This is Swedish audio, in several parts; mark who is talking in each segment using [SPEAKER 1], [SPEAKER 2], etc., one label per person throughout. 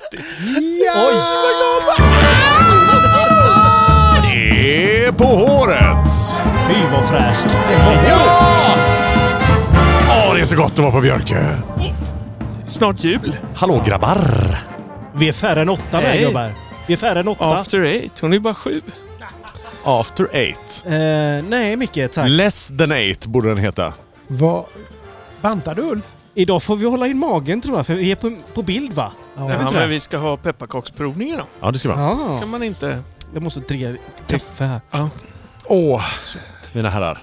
[SPEAKER 1] grattis!
[SPEAKER 2] Ja! Oj!
[SPEAKER 3] Det är på håret!
[SPEAKER 2] Fy vad fräscht. Det var
[SPEAKER 3] Åh, det är så gott att vara på Björkö.
[SPEAKER 1] Snart jul.
[SPEAKER 3] Hallå grabbar!
[SPEAKER 2] Vi är färre än åtta
[SPEAKER 1] Hej.
[SPEAKER 2] med gubbar. Vi är färre än åtta.
[SPEAKER 1] After eight. Hon är bara sju.
[SPEAKER 3] After eight.
[SPEAKER 2] Eh, nej Micke, tack.
[SPEAKER 3] Less than eight borde den heta.
[SPEAKER 4] Vad... Bantar du Ulf?
[SPEAKER 2] Idag får vi hålla in magen tror jag, för vi är på, på bild va?
[SPEAKER 1] Ja,
[SPEAKER 2] det?
[SPEAKER 1] men vi ska ha pepparkaksprovning idag.
[SPEAKER 3] Ja, det ska vi ha.
[SPEAKER 2] Ja.
[SPEAKER 1] Kan man inte...
[SPEAKER 2] Jag måste dricka lite kaffe här.
[SPEAKER 1] Ja.
[SPEAKER 3] Åh, mina herrar.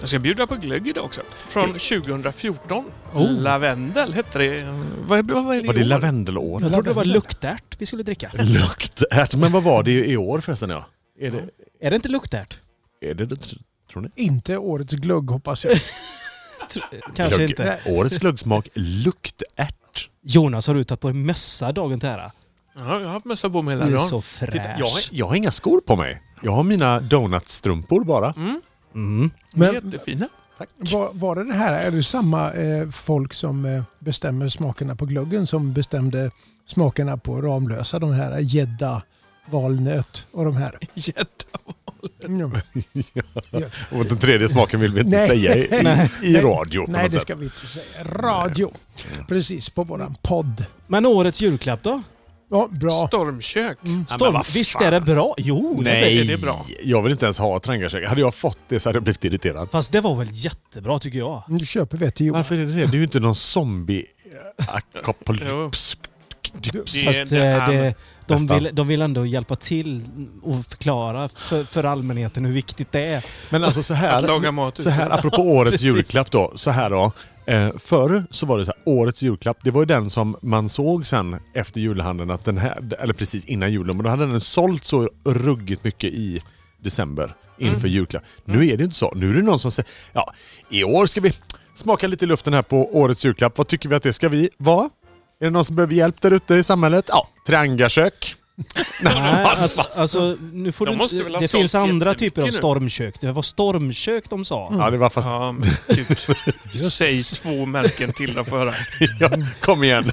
[SPEAKER 1] Jag ska bjuda på glögg idag också. Från 2014. Lavendel hette det. Vad, vad är det i
[SPEAKER 3] Var det
[SPEAKER 1] år?
[SPEAKER 3] lavendelår?
[SPEAKER 2] Jag trodde det var luktärt vi skulle dricka.
[SPEAKER 3] Luktärt. Men vad var det i år förresten? Ja? Är, det,
[SPEAKER 2] Är det inte luktärt?
[SPEAKER 3] är det det, tr- tror ni?
[SPEAKER 4] Inte årets glögg hoppas jag.
[SPEAKER 2] Tr- eh, Kanske
[SPEAKER 3] Glögg-
[SPEAKER 2] inte.
[SPEAKER 3] Årets glöggsmak, luktärt.
[SPEAKER 2] Jonas har du tagit på en mössa dagen till ära.
[SPEAKER 1] Ja, jag har haft mössa på mig hela
[SPEAKER 2] Du är
[SPEAKER 1] dagen.
[SPEAKER 2] så
[SPEAKER 3] Titta, jag,
[SPEAKER 2] fräsch.
[SPEAKER 3] jag har inga skor på mig. Jag har mina donutstrumpor bara.
[SPEAKER 4] Men
[SPEAKER 1] Jättefina.
[SPEAKER 3] Tack.
[SPEAKER 4] var, var det det här, är det samma eh, folk som eh, bestämmer smakerna på glöggen som bestämde smakerna på Ramlösa? De här gädda, valnöt och de här.
[SPEAKER 1] Jätte...
[SPEAKER 4] Mm.
[SPEAKER 3] Och den tredje smaken vill vi inte
[SPEAKER 4] Nej.
[SPEAKER 3] säga i, i, i radio på
[SPEAKER 4] Nej,
[SPEAKER 3] något
[SPEAKER 4] det
[SPEAKER 3] sätt. Mm.
[SPEAKER 4] ska vi inte säga. Radio. Precis, på våran podd.
[SPEAKER 2] Men årets julklapp då?
[SPEAKER 4] Ja, bra.
[SPEAKER 1] Stormkök.
[SPEAKER 3] men
[SPEAKER 2] Storm,
[SPEAKER 3] vad fan.
[SPEAKER 2] visst är det bra? Jo! det är
[SPEAKER 3] Nej,
[SPEAKER 2] det.
[SPEAKER 1] är det bra.
[SPEAKER 3] jag vill inte ens ha trangarsäck. Hade jag fått det så hade jag blivit irriterad.
[SPEAKER 2] Fast det var väl jättebra tycker jag.
[SPEAKER 4] Nu köper vi ett till Johan.
[SPEAKER 3] Varför är det det? Det är ju inte någon zombie akapolyps.
[SPEAKER 1] Det-
[SPEAKER 2] Fast
[SPEAKER 1] det
[SPEAKER 2] eh,
[SPEAKER 1] är-
[SPEAKER 2] det, de,
[SPEAKER 3] nästan.
[SPEAKER 2] vill, de vill ändå hjälpa till och förklara för, för allmänheten hur viktigt det är.
[SPEAKER 3] Men alltså så
[SPEAKER 1] Att laga
[SPEAKER 3] här,
[SPEAKER 1] mat
[SPEAKER 3] så här
[SPEAKER 1] utan.
[SPEAKER 3] apropå årets
[SPEAKER 2] Precis.
[SPEAKER 3] julklapp då. Så här då. Eh, förr så var det så här, årets julklapp, det var ju den som man såg sen efter julhandeln, att den här, eller precis innan julen, men då hade den sålt så ruggigt mycket i december inför julklapp. Nu är det inte så. Nu är det någon som säger, ja, i år ska vi smaka lite i luften här på årets julklapp. Vad tycker vi att det ska vi vara? Är det någon som behöver hjälp där ute i samhället? Ja, triangakök.
[SPEAKER 2] Nej, alltså, alltså, nu får
[SPEAKER 1] De
[SPEAKER 2] du,
[SPEAKER 1] måste väl ha
[SPEAKER 2] det
[SPEAKER 1] sålt
[SPEAKER 2] finns andra
[SPEAKER 1] jättemycket
[SPEAKER 2] typer av
[SPEAKER 1] nu. Mm.
[SPEAKER 2] stormkök. Det var stormkök de sa.
[SPEAKER 3] Ja, det var fast...
[SPEAKER 1] Ja, men gud. Säg två märken till då för att höra.
[SPEAKER 3] Ja, kom igen.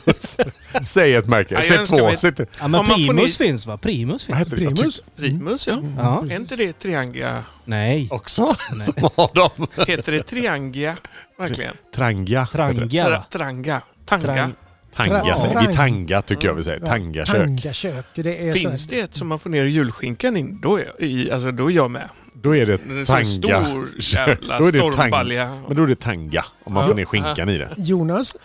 [SPEAKER 3] Säg ett märke.
[SPEAKER 1] Nej,
[SPEAKER 3] Säg
[SPEAKER 1] den ska
[SPEAKER 3] två.
[SPEAKER 1] vi-
[SPEAKER 3] Säg tre.
[SPEAKER 2] Ja, men
[SPEAKER 1] Om man får
[SPEAKER 2] Primus
[SPEAKER 1] ni-
[SPEAKER 2] finns va? Primus
[SPEAKER 3] Vad
[SPEAKER 2] finns.
[SPEAKER 3] heter det? Jag
[SPEAKER 4] Primus?
[SPEAKER 3] tyckte-
[SPEAKER 1] Primus, ja.
[SPEAKER 2] Ja.
[SPEAKER 1] Är inte det triangia?
[SPEAKER 2] Nej.
[SPEAKER 3] Också? Som har dem.
[SPEAKER 1] Heter det triangia? Verkligen.
[SPEAKER 3] Tranga. heter det.
[SPEAKER 2] Trangia.
[SPEAKER 1] Tra- tranga. Tanga.
[SPEAKER 2] Trang-
[SPEAKER 3] Tanga säger vi.
[SPEAKER 4] Trang.
[SPEAKER 3] Tanga tycker jag vi säger. Tangakök.
[SPEAKER 4] Tangakök. Det är
[SPEAKER 1] Finns
[SPEAKER 4] så här,
[SPEAKER 1] det ett som man får ner julskinkan i, då är jag, i, alltså, då är jag med.
[SPEAKER 3] Då är det
[SPEAKER 1] En sån
[SPEAKER 3] tanga.
[SPEAKER 1] stor jävla
[SPEAKER 3] Då är det
[SPEAKER 1] stormbalja.
[SPEAKER 3] Men då är det tanga. Om man får ner skinkan i det.
[SPEAKER 4] Jonas,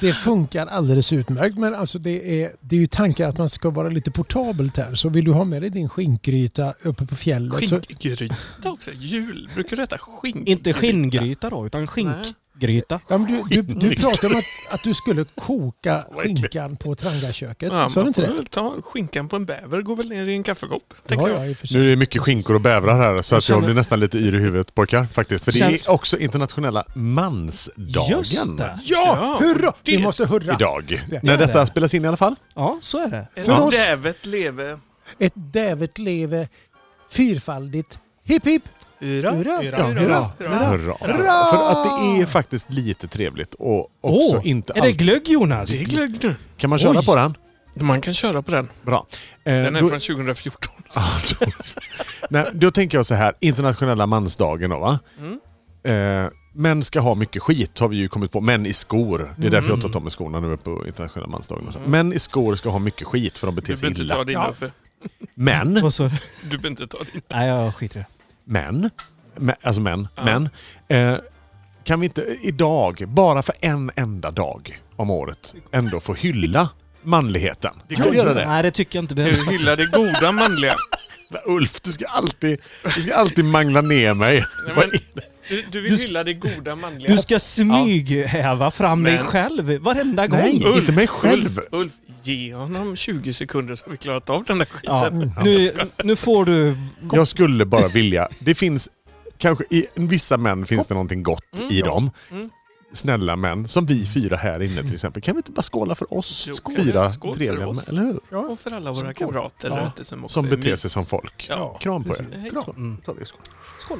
[SPEAKER 4] det funkar alldeles utmärkt. Men alltså det, är, det är ju tanken att man ska vara lite portabelt här. Så vill du ha med dig din skinkgryta uppe på fjället så
[SPEAKER 1] Skinkgryta också. Jul. Brukar du äta skink?
[SPEAKER 2] Inte skinngryta då, utan skinkgryta.
[SPEAKER 4] Ja, men du, du, du
[SPEAKER 3] Skinkgryta.
[SPEAKER 4] pratade om att, att du skulle koka
[SPEAKER 3] Vad äckligt.
[SPEAKER 4] skinkan på trangaköket.
[SPEAKER 1] Ja,
[SPEAKER 4] Sa du
[SPEAKER 1] man
[SPEAKER 4] inte
[SPEAKER 1] får
[SPEAKER 4] det?
[SPEAKER 1] väl ta skinkan på en bäver går väl ner i en kaffekopp. Tänker
[SPEAKER 4] Ja,
[SPEAKER 1] jag.
[SPEAKER 4] ja, i och för sig.
[SPEAKER 3] Nu är det mycket skinkor och bävrar här så att jag
[SPEAKER 2] känner-
[SPEAKER 3] blir nästan lite yr i huvudet pojkar. Faktiskt. För det
[SPEAKER 2] Känns-
[SPEAKER 3] är också internationella mansdagen.
[SPEAKER 2] Just det.
[SPEAKER 4] Ja,
[SPEAKER 1] Ja,
[SPEAKER 4] hurra! Vi
[SPEAKER 1] det-
[SPEAKER 4] måste hurra.
[SPEAKER 3] Idag.
[SPEAKER 4] Ja.
[SPEAKER 3] När
[SPEAKER 2] Ja,
[SPEAKER 3] detta
[SPEAKER 2] det.
[SPEAKER 3] spelas in i alla fall.
[SPEAKER 2] Ja, så är det.
[SPEAKER 1] Ett
[SPEAKER 4] För oss-
[SPEAKER 1] Dävet leve.
[SPEAKER 4] Ett dävet leve fyrfaldigt. Hipp hipp!
[SPEAKER 1] Hurra,
[SPEAKER 4] Hurra,
[SPEAKER 1] hurra,
[SPEAKER 4] hurra,
[SPEAKER 1] hurra,
[SPEAKER 3] Hurra.
[SPEAKER 1] hurra.
[SPEAKER 3] För att det är faktiskt lite trevligt och också
[SPEAKER 2] Åh,
[SPEAKER 3] inte
[SPEAKER 2] är det
[SPEAKER 3] allt.
[SPEAKER 2] glögg Jonas?
[SPEAKER 1] Det är glögg nu.
[SPEAKER 3] Kan man köra
[SPEAKER 2] Oj.
[SPEAKER 3] på den?
[SPEAKER 1] Man kan köra på den.
[SPEAKER 3] Bra. Eh,
[SPEAKER 1] Den är
[SPEAKER 3] då,
[SPEAKER 1] från 2014.
[SPEAKER 4] Ah,
[SPEAKER 3] nej, då tänker jag så här, internationella mansdagen då va? Eh, män ska ha mycket skit har vi ju kommit på. Män i skor. Det är därför jag har tagit av mig skorna nu på internationella mansdagen. Och så. Män i skor ska ha mycket skit för de
[SPEAKER 1] Du
[SPEAKER 3] beter sig
[SPEAKER 1] behöver inte ta
[SPEAKER 3] illa.
[SPEAKER 1] dina för...
[SPEAKER 3] Men,
[SPEAKER 2] Vad sa du?
[SPEAKER 1] Du behöver inte ta dina.
[SPEAKER 2] Nej, jag skiter i det.
[SPEAKER 3] men, mä- alltså män, men. Eh, kan vi inte idag, bara för en enda dag om året, ändå få hylla manligheten? Kan vi göra det?
[SPEAKER 2] Nej, det tycker jag inte behövs.
[SPEAKER 1] Du hyllar det goda manliga.
[SPEAKER 3] Ulf, du ska alltid, du ska alltid mangla ner mig.
[SPEAKER 1] Nej, men, du, du vill hylla det goda manliga.
[SPEAKER 2] Du ska smyghäva fram dig
[SPEAKER 1] Men-
[SPEAKER 2] själv varenda gång.
[SPEAKER 3] Nej,
[SPEAKER 1] Ulf,
[SPEAKER 3] inte mig själv.
[SPEAKER 1] Ulf, Ulf, ge honom 20 sekunder så har vi klarat av den där skiten.
[SPEAKER 2] Ja, nu, nu får du...
[SPEAKER 3] Jag skulle bara vilja... Det finns kanske... I vissa män finns det någonting gott i dem. Snälla män, som vi fyra här inne till exempel. Kan vi inte bara skåla för oss?
[SPEAKER 1] Jo,
[SPEAKER 3] Skål. Fyra
[SPEAKER 1] skål för
[SPEAKER 3] trevliga
[SPEAKER 1] oss.
[SPEAKER 3] män, eller hur?
[SPEAKER 1] Och för alla våra kamrater där ute som också
[SPEAKER 3] Som
[SPEAKER 1] är
[SPEAKER 3] beter
[SPEAKER 1] mys.
[SPEAKER 3] sig som folk.
[SPEAKER 1] Ja.
[SPEAKER 3] Kram på er.
[SPEAKER 1] Hej.
[SPEAKER 3] Kram. Ta det, skål.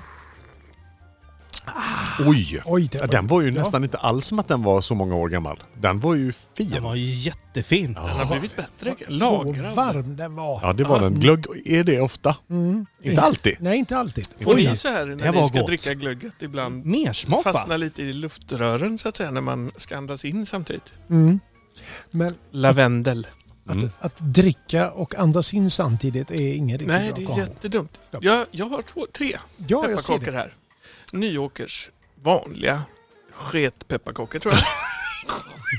[SPEAKER 3] Oj!
[SPEAKER 4] Oj,
[SPEAKER 3] Ja, Den var ju
[SPEAKER 4] ja.
[SPEAKER 3] nästan inte alls som att den var så många år gammal. Den var ju
[SPEAKER 5] Den
[SPEAKER 3] fin.
[SPEAKER 5] var ju jättefin.
[SPEAKER 1] Den har blivit bättre.
[SPEAKER 4] Åh,
[SPEAKER 1] Lagrad.
[SPEAKER 4] varm den var.
[SPEAKER 3] Ja, det var den. Glögg är det ofta. Inte alltid.
[SPEAKER 4] Nej, inte alltid.
[SPEAKER 1] Får
[SPEAKER 5] Oj,
[SPEAKER 1] ni så här när
[SPEAKER 5] det
[SPEAKER 1] ni
[SPEAKER 5] var
[SPEAKER 1] ska
[SPEAKER 5] gott.
[SPEAKER 1] dricka glögget ibland?
[SPEAKER 5] Mer smak
[SPEAKER 1] Fastnar
[SPEAKER 5] va?
[SPEAKER 1] lite i luftrören så att säga när man ska andas in samtidigt.
[SPEAKER 4] Mm. Men
[SPEAKER 1] Lavendel.
[SPEAKER 4] att,
[SPEAKER 3] Mm.
[SPEAKER 4] att dricka och andas in samtidigt är ingen riktigt
[SPEAKER 1] Nej,
[SPEAKER 4] bra
[SPEAKER 1] det är
[SPEAKER 4] kombo.
[SPEAKER 1] jättedumt.
[SPEAKER 4] Ja.
[SPEAKER 1] Jag, jag har två, tre
[SPEAKER 4] Ja, jag ser
[SPEAKER 1] pepparkakor
[SPEAKER 4] det.
[SPEAKER 1] här. Nyåkers vanliga sketpepparkakor tror jag.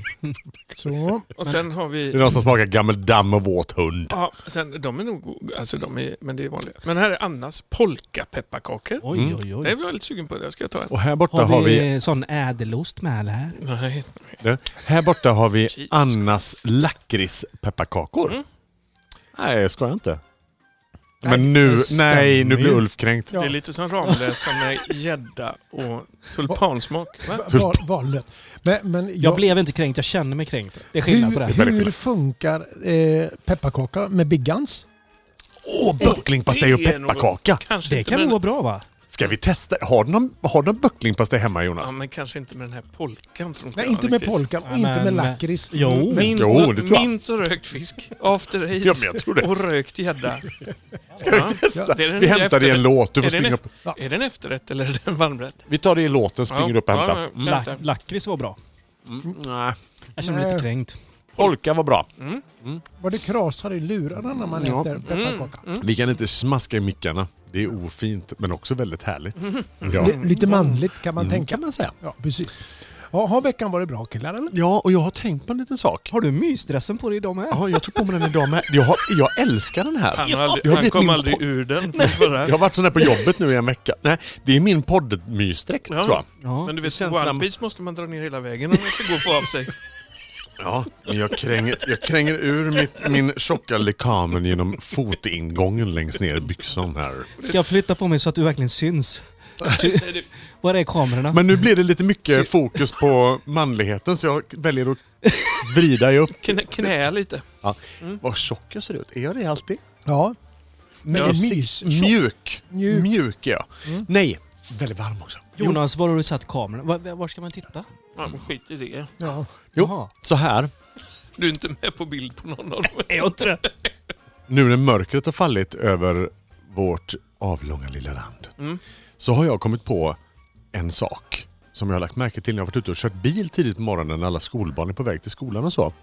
[SPEAKER 4] Så.
[SPEAKER 1] Och sen har vi...
[SPEAKER 3] Det är någon som smakar gammal damm och våt hund.
[SPEAKER 1] Ja, sen, de är nog go- alltså de är, men det är vanliga. Men här är Annas polkapepparkakor.
[SPEAKER 5] Oj, oj,
[SPEAKER 1] Mm. Det är
[SPEAKER 5] oj.
[SPEAKER 1] jag väldigt sugen på. Det ska jag ta en.
[SPEAKER 3] Och här borta
[SPEAKER 5] Har
[SPEAKER 3] vi,
[SPEAKER 5] vi sån ädelost med eller? här?
[SPEAKER 1] Nej,
[SPEAKER 3] här borta har vi
[SPEAKER 1] Jesus
[SPEAKER 3] Annas lakritspepparkakor.
[SPEAKER 1] Mm.
[SPEAKER 3] Nej, jag skojar inte.
[SPEAKER 4] Nej,
[SPEAKER 3] Men nu,
[SPEAKER 4] det stämmer
[SPEAKER 3] nej, nu blir
[SPEAKER 4] ju.
[SPEAKER 3] Ulf kränkt.
[SPEAKER 1] det är lite som Ramlösa med gädda och tulpansmak. Va?
[SPEAKER 4] Va- Val, valnöt. Men, men jag,
[SPEAKER 5] Jag blev inte kränkt, jag känner mig kränkt. Det är skillnad på det.
[SPEAKER 4] hur, hur funkar eh, pepparkaka med biggans?
[SPEAKER 3] Åh, böcklingpastej och
[SPEAKER 1] Det är nog-
[SPEAKER 3] pepparkaka!
[SPEAKER 1] Kanske
[SPEAKER 5] Det
[SPEAKER 1] inte
[SPEAKER 5] kan
[SPEAKER 1] med
[SPEAKER 5] nog
[SPEAKER 1] den,
[SPEAKER 5] vara bra va?
[SPEAKER 1] Mm.
[SPEAKER 3] Ska vi testa? Har du någon, har du någon böcklingpastej hemma Jonas?
[SPEAKER 1] ja, men kanske inte med den här polkan. Tror inte
[SPEAKER 4] Nej,
[SPEAKER 1] jag
[SPEAKER 4] inte med Oh.
[SPEAKER 1] riktigt. Oh.
[SPEAKER 4] polkan och
[SPEAKER 5] Ja,
[SPEAKER 4] inte med
[SPEAKER 5] men-
[SPEAKER 4] lakrits.
[SPEAKER 5] Jo.
[SPEAKER 1] Mint,
[SPEAKER 3] Jo, det tror jag.
[SPEAKER 1] mint och rökt fisk. After eight.
[SPEAKER 3] Ja, men jag tror det.
[SPEAKER 1] Och rökt gädda.
[SPEAKER 3] Ska vi testa?
[SPEAKER 1] Det är den
[SPEAKER 3] Vi
[SPEAKER 1] nya
[SPEAKER 3] hämtar det i en
[SPEAKER 1] efterrätt.
[SPEAKER 3] låt. Du får
[SPEAKER 1] Är det en,
[SPEAKER 3] springa upp.
[SPEAKER 1] eft- är det en efterrätt eller är det en varmrätt?
[SPEAKER 3] Vi tar det i låten, springer upp och hämtar. Mm,
[SPEAKER 1] ja,
[SPEAKER 5] La-
[SPEAKER 1] hämtar.
[SPEAKER 5] Lakrits var bra.
[SPEAKER 3] Nej.
[SPEAKER 5] Jag känner mig
[SPEAKER 4] Nej.
[SPEAKER 5] lite kränkt.
[SPEAKER 3] Polka var bra.
[SPEAKER 1] Mm.
[SPEAKER 4] Vad det krasar i lurarna när man
[SPEAKER 3] Ja. Mm.
[SPEAKER 4] äter pepparkaka.
[SPEAKER 3] Vi kan inte smaska i mickarna. Det är ofint, men också väldigt härligt. Ja.
[SPEAKER 4] Li- Lite manligt kan man
[SPEAKER 3] Mm,
[SPEAKER 4] tänka.
[SPEAKER 3] kan man säga.
[SPEAKER 4] Ja, precis. Ja, har veckan varit bra killar eller?
[SPEAKER 3] Ja, och jag har tänkt på en liten sak.
[SPEAKER 5] Har du mysdressen på dig idag med?
[SPEAKER 3] Ja, jag tog på mig den idag med. Jag, har, jag älskar den här.
[SPEAKER 1] Han, har aldrig,
[SPEAKER 3] Jag har
[SPEAKER 1] han
[SPEAKER 3] blivit
[SPEAKER 1] kom
[SPEAKER 3] min
[SPEAKER 1] aldrig
[SPEAKER 3] po-
[SPEAKER 1] ur den. Bara.
[SPEAKER 3] Jag har varit sån här på jobbet nu i en vecka. Nej, det är min poddmysdräkt
[SPEAKER 1] Ja.
[SPEAKER 3] tror jag.
[SPEAKER 5] Ja.
[SPEAKER 1] Men du vet,
[SPEAKER 3] Det känns
[SPEAKER 1] One
[SPEAKER 3] som-
[SPEAKER 1] Piece måste man dra ner hela vägen om man ska gå och få av sig.
[SPEAKER 3] Ja, men jag kränger, jag kränger ur mitt, min tjocka lekamen genom fotingången längst ner i byxan här.
[SPEAKER 5] Ska jag flytta på mig så att du verkligen syns? Var är kamerorna?
[SPEAKER 3] Men nu blir det lite mycket fokus på manligheten så jag väljer att vrida upp.
[SPEAKER 1] Knä, knä lite.
[SPEAKER 3] Ja.
[SPEAKER 1] Mm.
[SPEAKER 3] Vad tjock jag ser ut. Är jag det alltid?
[SPEAKER 4] Ja. Men det är
[SPEAKER 3] Mysig-
[SPEAKER 4] mys.
[SPEAKER 3] Mjuk.
[SPEAKER 4] Mjuk.
[SPEAKER 3] Mjuk är jag.
[SPEAKER 1] Mm.
[SPEAKER 3] Nej, väldigt varm också.
[SPEAKER 5] Jonas, var har du satt kameran? Var, var ska man titta?
[SPEAKER 1] Ja, men skit i det.
[SPEAKER 4] Ja.
[SPEAKER 3] Jo,
[SPEAKER 5] Jaha.
[SPEAKER 3] så här.
[SPEAKER 1] Du är inte med på bild på någon av dem.
[SPEAKER 5] Är jag inte det?
[SPEAKER 3] Nu när mörkret har fallit över vårt avlånga lilla land så har jag kommit på en sak som jag har lagt märke till när jag har varit ute och kört bil tidigt på morgonen när alla skolbarn är på väg till skolan och så.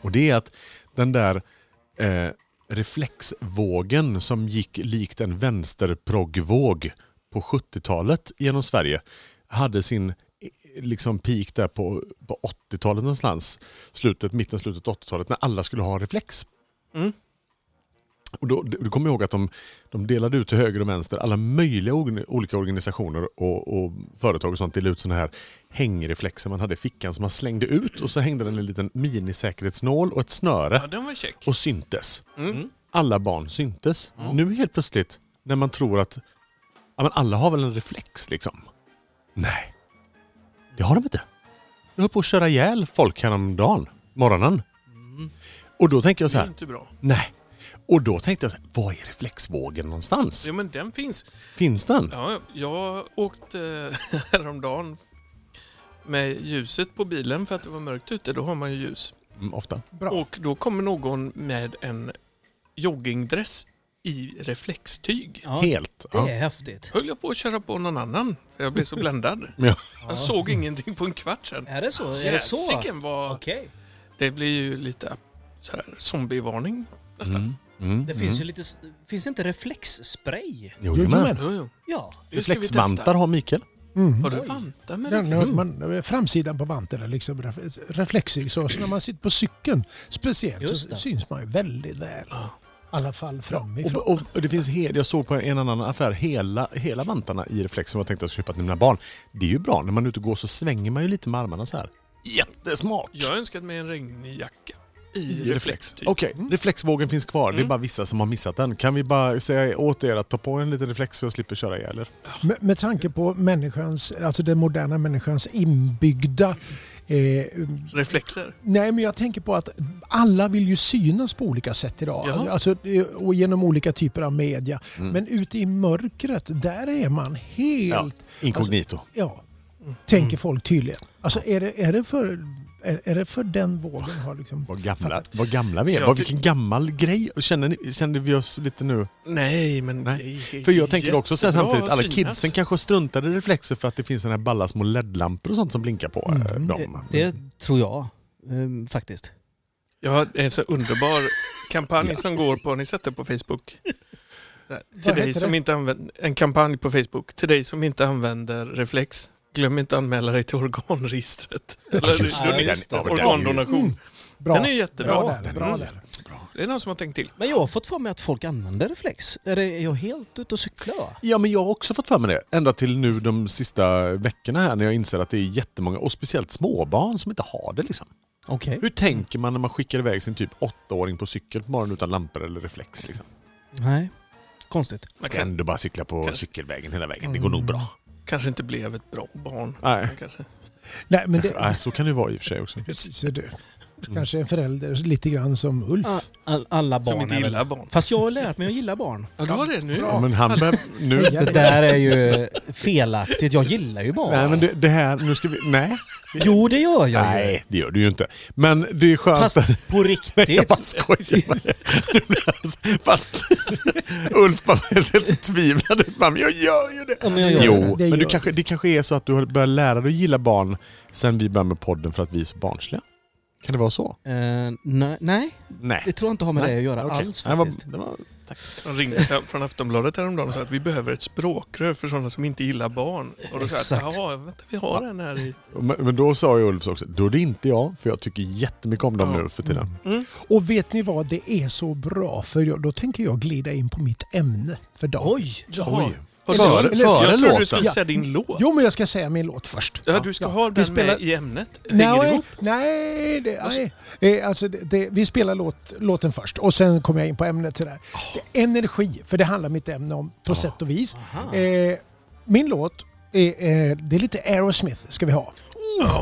[SPEAKER 3] Och det är att den där eh, reflexvågen som gick likt en vänsterproggvåg på 70-talet genom Sverige hade sin eh, liksom peak där på, på 80-talet någonstans. Slutet, mitten, slutet 80-talet när alla skulle ha reflex och då, då kommer jag ihåg att de, de delade ut till höger och vänster alla möjliga organ- olika organisationer och, och företag och sånt delade ut sådana här hängreflexer man hade i fickan som man slängde ut och så hängde den en liten minisäkerhetsnål och ett snöre
[SPEAKER 1] Ja, den var käck.
[SPEAKER 3] och syntes. Alla barn syntes. Nu helt plötsligt, när man tror att ja, men alla har väl en reflex liksom. Nej, det har de inte. Jag höll på att köra ihjäl folk häromdagen, morgonen. Och då tänker jag
[SPEAKER 1] Det
[SPEAKER 3] så
[SPEAKER 1] är
[SPEAKER 3] här,
[SPEAKER 1] inte bra.
[SPEAKER 3] Nej. Och då tänkte jag, så här, var är reflexvågen någonstans?
[SPEAKER 1] Ja, men den finns.
[SPEAKER 3] Finns den?
[SPEAKER 1] Ja, jag åkte eh, häromdagen med ljuset på bilen för att det var mörkt ute. Då har man ju ljus.
[SPEAKER 3] Mm, ofta.
[SPEAKER 4] Ja.
[SPEAKER 1] Och då kommer någon med en joggingdress i reflextyg.
[SPEAKER 5] Ja,
[SPEAKER 3] Helt.
[SPEAKER 5] det
[SPEAKER 3] Ja.
[SPEAKER 5] är häftigt.
[SPEAKER 1] Höll jag på att köra på någon annan för jag blev så bländad.
[SPEAKER 3] Ja.
[SPEAKER 1] Jag såg ingenting på en kvart sedan.
[SPEAKER 5] Är det så? Är det så?
[SPEAKER 1] Jäsiken vad...
[SPEAKER 5] Okej.
[SPEAKER 1] Det blir ju lite så här, zombievarning nästan.
[SPEAKER 3] Mm.
[SPEAKER 5] Det finns ju lite... s- Finns det inte reflexspray?
[SPEAKER 3] Jo,
[SPEAKER 4] Jajamän.
[SPEAKER 3] jajamän.
[SPEAKER 1] Jo, jo.
[SPEAKER 5] Ja.
[SPEAKER 1] Det ska vi testa.
[SPEAKER 3] Reflexvantar har Mikael.
[SPEAKER 1] Har du vantar med
[SPEAKER 4] Den,
[SPEAKER 3] Mm.
[SPEAKER 1] reflex?
[SPEAKER 4] man, framsidan på vanten är liksom ref- reflexig. Så, så när man sitter på cykeln speciellt
[SPEAKER 5] Just
[SPEAKER 4] så
[SPEAKER 5] det.
[SPEAKER 4] syns man ju väldigt väl. I alla fall
[SPEAKER 3] Och,
[SPEAKER 4] framifrån.
[SPEAKER 3] och, och det finns hel, jag såg på en annan affär hela, hela vantarna i reflex som jag tänkte att köpa till mina barn. Det är ju bra. När man är ute och går så svänger man ju lite med armarna så här. Jättesmart!
[SPEAKER 1] Jag har önskat mig en regnjacka i
[SPEAKER 3] I
[SPEAKER 1] reflex. typ. Mm.
[SPEAKER 3] Okej, reflexvågen finns kvar. Det är bara vissa som har missat den. Kan vi bara säga åt er att ta på en liten reflex så jag slipper köra ihjäl er?
[SPEAKER 4] Med, med tanke på människans, alltså den moderna människans inbyggda eh,
[SPEAKER 1] Reflexer.
[SPEAKER 4] Nej, men jag tänker på att alla vill ju synas på olika sätt idag.
[SPEAKER 1] Ja.
[SPEAKER 4] Alltså, det- och genom olika typer av media.
[SPEAKER 3] Mm.
[SPEAKER 4] Men ute i mörkret, där är man helt...
[SPEAKER 1] Alltså-
[SPEAKER 3] Inkognito.
[SPEAKER 4] Ja, tänker folk tydligen. Alltså är det, är det, för, är, är det för den vågen har liksom...
[SPEAKER 3] Vad gamla, vad gamla vi är.
[SPEAKER 1] Jag
[SPEAKER 3] Vad,
[SPEAKER 1] ty-
[SPEAKER 3] vilken gammal grej. Känner ni, kände vi oss lite nu?
[SPEAKER 1] Nej, men...
[SPEAKER 3] Nej,
[SPEAKER 1] det är
[SPEAKER 3] För jag tänker också sen
[SPEAKER 1] jättebra
[SPEAKER 3] samtidigt,
[SPEAKER 1] att
[SPEAKER 3] alla
[SPEAKER 1] synas.
[SPEAKER 3] kidsen kanske struntar i reflexer för att det finns den här balla små LED-lampor och sånt som blinkar på eh,
[SPEAKER 4] Mm.
[SPEAKER 3] dem.
[SPEAKER 2] Det tror jag ehm, faktiskt.
[SPEAKER 1] Jag har en så underbar kampanj som går på, ni sett den på Facebook? Till dig
[SPEAKER 4] heter
[SPEAKER 1] som
[SPEAKER 4] det?
[SPEAKER 1] inte använder, en kampanj på Facebook, till dig som inte använder reflex. Glöm inte att anmäla dig till organregistret. Eller
[SPEAKER 3] just
[SPEAKER 2] det. Ja,
[SPEAKER 1] donation.
[SPEAKER 2] just det.
[SPEAKER 3] Ja, men den är ju-
[SPEAKER 1] organdonation.
[SPEAKER 4] Mm, Bra.
[SPEAKER 1] Den är jättebra.
[SPEAKER 4] Bra där, bra
[SPEAKER 1] Mm.
[SPEAKER 4] där.
[SPEAKER 1] Det är någon som har tänkt till.
[SPEAKER 2] Men jag har fått för mig att folk använder reflex. Är, det, är jag helt ute och cyklar?
[SPEAKER 3] Ja, men jag har också fått för mig det. Ända till nu de sista veckorna här när jag inser att det är jättemånga, och speciellt småbarn, som inte har det. Liksom.
[SPEAKER 2] Okej.
[SPEAKER 3] Hur tänker man när man skickar iväg sin typ åttaåring på cykel på morgonen utan lampor eller reflex? Liksom?
[SPEAKER 2] Nej. Konstigt.
[SPEAKER 1] Man
[SPEAKER 3] Ska
[SPEAKER 1] kan,
[SPEAKER 3] ändå bara cykla på
[SPEAKER 1] Kan-
[SPEAKER 3] cykelvägen hela vägen. Det går nog bra.
[SPEAKER 1] kanske inte blev ett bra barn.
[SPEAKER 3] Nej,
[SPEAKER 1] Man Kanske.
[SPEAKER 4] Nej, men
[SPEAKER 3] Nej,
[SPEAKER 4] det,
[SPEAKER 3] så kan det vara i och för sig också.
[SPEAKER 4] precis, är det. Kanske en förälder lite grann som Ulf.
[SPEAKER 2] Ah, all- alla
[SPEAKER 1] Som
[SPEAKER 2] barn
[SPEAKER 1] inte
[SPEAKER 2] är väl...
[SPEAKER 1] gillar barn.
[SPEAKER 2] Fast jag har lärt mig att gilla barn.
[SPEAKER 1] Ja, du har det nu.
[SPEAKER 3] Ja, men han behöver... Nu...
[SPEAKER 4] Heja
[SPEAKER 2] Det
[SPEAKER 4] dig.
[SPEAKER 2] där är ju felaktigt. Jag gillar ju barn.
[SPEAKER 3] Nej, men det, det här... Nu ska vi... Nej.
[SPEAKER 2] Jo, det gör jag ju.
[SPEAKER 3] Nej, det gör du ju inte. Men det är skönt... att-
[SPEAKER 2] Fast på
[SPEAKER 3] Jag
[SPEAKER 2] riktigt.
[SPEAKER 3] bara skojar med dig. Fast Ulf bara helt tvivlad ut. Bara, Men jag gör ju det.
[SPEAKER 2] Ja, men jag gör
[SPEAKER 3] jo,
[SPEAKER 2] det.
[SPEAKER 4] Det
[SPEAKER 3] men du
[SPEAKER 4] gör-
[SPEAKER 3] kanske, det kanske är så att du har börjat lära dig att gilla barn sen vi började med podden för att vi är så barnsliga. Kan det vara så?
[SPEAKER 2] Eh, nej, nej, det
[SPEAKER 3] Nej.
[SPEAKER 2] tror jag inte har med det att göra
[SPEAKER 3] Okej.
[SPEAKER 2] alls
[SPEAKER 3] Nej, vad-
[SPEAKER 2] faktiskt.
[SPEAKER 3] det var,
[SPEAKER 1] De ringde fram- från Aftonbladet häromdagen och sa att vi behöver ett språkrör för sådana som inte gillar barn. Och då sa jag
[SPEAKER 2] Exakt.
[SPEAKER 1] att ja, vänta, vi har en här i...
[SPEAKER 3] men, men då sa ju Ulf också, då är det inte jag, för jag tycker jättemycket om dem
[SPEAKER 1] Ja.
[SPEAKER 3] nu för tiden.
[SPEAKER 4] Och vet ni vad, det är så bra för jag, då tänker jag glida in på mitt ämne för dagen.
[SPEAKER 2] Oj!
[SPEAKER 1] Jaha.
[SPEAKER 3] Oj.
[SPEAKER 1] Har du-
[SPEAKER 3] Före- före
[SPEAKER 1] Jag trodde du
[SPEAKER 3] låten.
[SPEAKER 1] skulle säga din låt.
[SPEAKER 4] Jo, men jag ska säga min låt först.
[SPEAKER 1] Ja, du ska
[SPEAKER 4] Ja.
[SPEAKER 1] ha
[SPEAKER 4] Vi
[SPEAKER 1] den
[SPEAKER 4] spelar-
[SPEAKER 1] med i ämnet. Hänger
[SPEAKER 4] Nej,
[SPEAKER 1] ihop.
[SPEAKER 4] nej, det, nej. Eh, Alltså det, det, vi spelar låt, låten först och sen kommer jag in på ämnet. Sådär. Energi, för det handlar mitt ämne om på sätt och vis. Eh, min låt, är, eh, det är lite Aerosmith ska vi ha.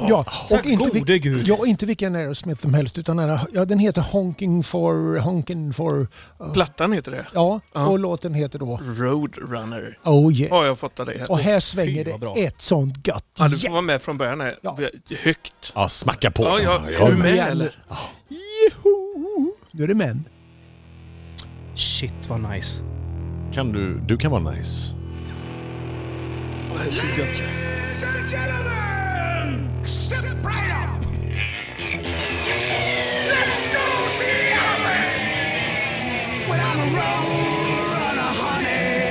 [SPEAKER 4] ja,
[SPEAKER 2] Tack gode gud.
[SPEAKER 4] Ja, inte vilken Aerosmith som helst utan den, ja, den heter Honking for... Honking for
[SPEAKER 1] Plattan heter det.
[SPEAKER 4] ja,
[SPEAKER 1] Ja.
[SPEAKER 4] och låten heter då
[SPEAKER 1] Roadrunner.
[SPEAKER 4] Oh yeah.
[SPEAKER 1] Har jag fått av dig.
[SPEAKER 4] Och här
[SPEAKER 2] fy,
[SPEAKER 4] svänger det
[SPEAKER 2] vad bra.
[SPEAKER 4] ett sånt gött
[SPEAKER 1] Ja, du får
[SPEAKER 4] gäng.
[SPEAKER 1] vara med från början här.
[SPEAKER 4] Ja.
[SPEAKER 1] Vi har- Högt.
[SPEAKER 3] Ja, smacka på.
[SPEAKER 1] Ja, ja.
[SPEAKER 3] Jag
[SPEAKER 1] Är du
[SPEAKER 3] med.
[SPEAKER 1] med
[SPEAKER 4] igen.
[SPEAKER 1] eller?
[SPEAKER 4] Joho! Nu är det män.
[SPEAKER 2] Shit vad nice.
[SPEAKER 3] Kan du, du kan vara nice.
[SPEAKER 1] Åh, det är så gött.
[SPEAKER 6] Ladies and gentlemen, step right up. Let's go see the elephant. Without a roll and a honey.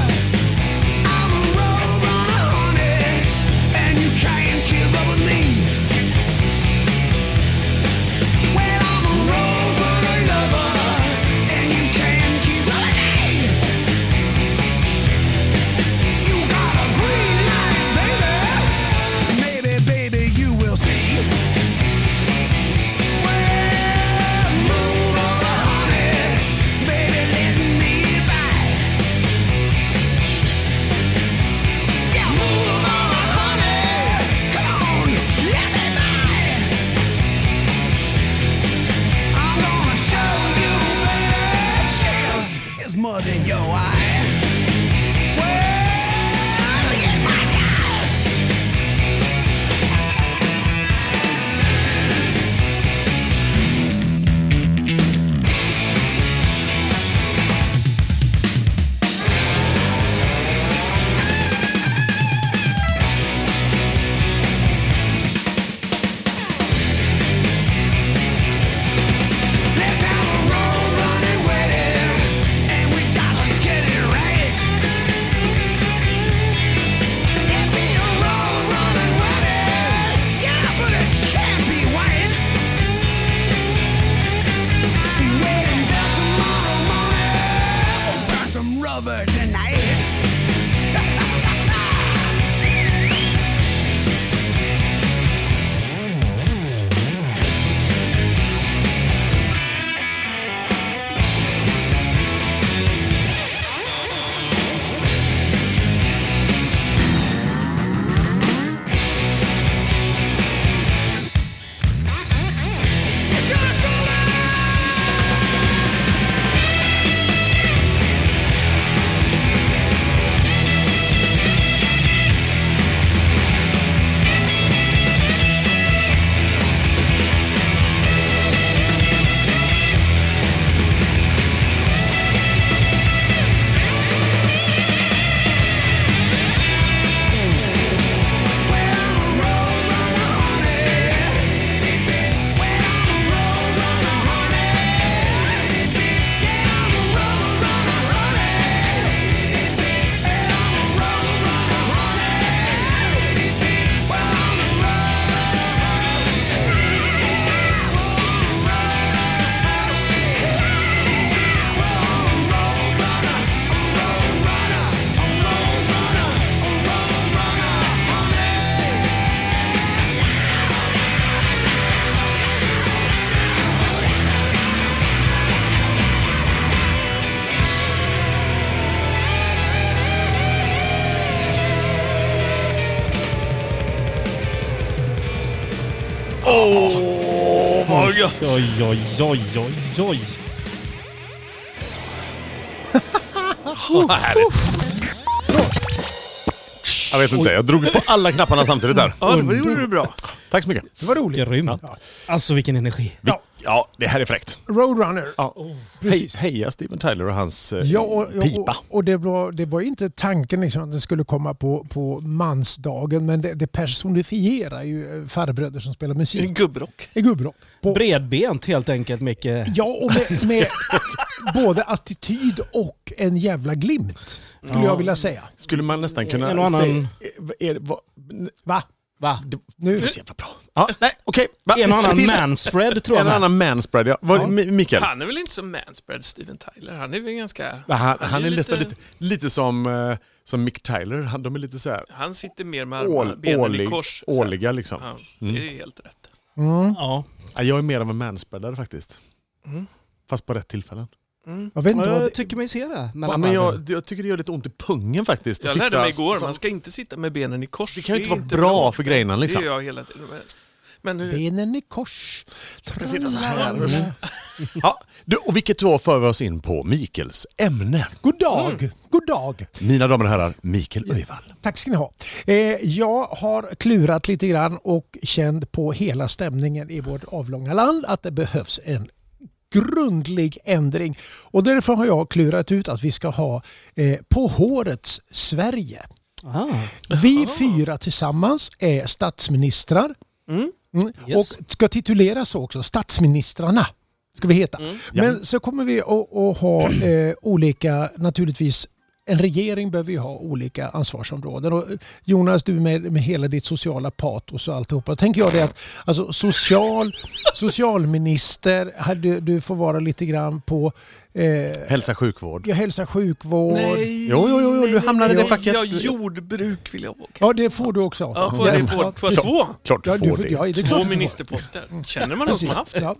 [SPEAKER 6] I'm a roll and a honey, and you can't keep up with me. Well, I'm a robot lover,
[SPEAKER 1] Åh, vad gött!
[SPEAKER 5] Oj, oj, oj, oj, oj.
[SPEAKER 3] Jag vet inte, jag drog på alla knapparna samtidigt där.
[SPEAKER 1] Ja, det var- det gjorde du bra.
[SPEAKER 3] Tack så mycket.
[SPEAKER 4] Det var roligt.
[SPEAKER 5] Grymt. Alltså vilken energi.
[SPEAKER 3] Ja, ja det här är fräckt.
[SPEAKER 4] Roadrunner.
[SPEAKER 3] Ja.
[SPEAKER 5] oh,
[SPEAKER 3] Hej,
[SPEAKER 4] Precis.
[SPEAKER 3] heja Steven Tyler och hans eh,
[SPEAKER 4] Ja, och, och,
[SPEAKER 3] pipa.
[SPEAKER 4] och det, var, det var inte tanken liksom att den skulle komma på, på mansdagen men det, det personifierar ju eh, farbröder som spelar musik.
[SPEAKER 1] Gubbrock.
[SPEAKER 4] I gubbrock. På-
[SPEAKER 5] Bredbent helt enkelt Micke.
[SPEAKER 4] Ja, och med, med både attityd och en jävla glimt skulle jag vilja säga.
[SPEAKER 3] Skulle man nästan kunna
[SPEAKER 5] Eh, En och annan-
[SPEAKER 3] säga... Är, är, vad,
[SPEAKER 4] Va?
[SPEAKER 5] Va?
[SPEAKER 3] det,
[SPEAKER 4] Nu.
[SPEAKER 3] det är jävla bra. Ja, nej, okej. Va?
[SPEAKER 5] En och annan
[SPEAKER 3] Till-
[SPEAKER 5] manspread tror
[SPEAKER 3] En
[SPEAKER 5] jag.
[SPEAKER 3] och annan manspread. Ja. Vad, Mi- Mikael?
[SPEAKER 1] Han är väl inte så manspread, Steven Tyler? Han är väl ganska...
[SPEAKER 3] Han, han, är nästan lite, lite som, eh, som Mick Tyler. Han, de är lite så här
[SPEAKER 1] Han sitter mer med armarna,
[SPEAKER 3] ål,
[SPEAKER 1] benen
[SPEAKER 3] ålig,
[SPEAKER 1] i kors. så här.
[SPEAKER 3] åliga liksom.
[SPEAKER 1] Ja, det är helt rätt.
[SPEAKER 5] Ja.
[SPEAKER 3] Ja, Jag är mer av en manspreadare faktiskt.
[SPEAKER 1] Mm.
[SPEAKER 3] Fast på rätt tillfällen.
[SPEAKER 4] Jag vet inte vad
[SPEAKER 5] Jag
[SPEAKER 4] det,
[SPEAKER 5] tycker mig se det.
[SPEAKER 3] Ja,
[SPEAKER 5] mellan
[SPEAKER 3] men
[SPEAKER 5] varven.
[SPEAKER 3] jag, jag tycker det gör lite ont i pungen faktiskt. att
[SPEAKER 1] Jag lärde
[SPEAKER 3] sitta
[SPEAKER 1] mig igår,
[SPEAKER 3] som-
[SPEAKER 1] man ska inte sitta med benen i kors.
[SPEAKER 3] Det kan ju inte
[SPEAKER 1] är
[SPEAKER 3] vara bra för grejerna
[SPEAKER 1] Det
[SPEAKER 3] liksom.
[SPEAKER 1] gör jag hela tiden. Men- Men nu...
[SPEAKER 4] benen i kors. Jag
[SPEAKER 3] ska sitta så här. Ja, du, och vilket då för vi oss in på Mikels ämne.
[SPEAKER 4] God dag, god dag.
[SPEAKER 3] Mina damer och herrar, Mikael Öjvall.
[SPEAKER 4] Tack ska ni ha. Eh, jag har klurat lite grann och känt på hela stämningen i vårt avlånga land att det behövs en grundlig ändring. Och därför har jag klurat ut att vi ska ha eh, På hårets Sverige.
[SPEAKER 5] Ah.
[SPEAKER 4] Vi fyra tillsammans är statsministrar. Mm.
[SPEAKER 5] Yes.
[SPEAKER 4] Och ska tituleras så också, statsministrarna. Ska vi heta.
[SPEAKER 1] Mm.
[SPEAKER 4] Men så kommer vi att, att ha eh, olika, naturligtvis, en regering behöver ju ha olika ansvarsområden. Och eh, Jonas, du med, med hela ditt sociala patos och alltihopa. Tänker jag det att alltså, social, socialminister, här, du, du får vara lite grann på eh,
[SPEAKER 3] Hälsa sjukvård.
[SPEAKER 4] ja, hälsa sjukvård.
[SPEAKER 1] Nej,
[SPEAKER 3] Jo, jo, jo, du
[SPEAKER 1] nej, nej,
[SPEAKER 3] hamnade i det
[SPEAKER 1] nej.
[SPEAKER 3] facket.
[SPEAKER 1] Ja, jordbruk vill jag åka.
[SPEAKER 4] Ja, det får du också.
[SPEAKER 1] Ja, får det på, på
[SPEAKER 4] Ja,
[SPEAKER 1] två.
[SPEAKER 3] Klart du
[SPEAKER 4] Ja, du
[SPEAKER 3] får
[SPEAKER 4] får-
[SPEAKER 3] det.
[SPEAKER 4] ja, det är klart
[SPEAKER 1] Två
[SPEAKER 4] du får.
[SPEAKER 1] ministerposter. Känner man någon som har haft det?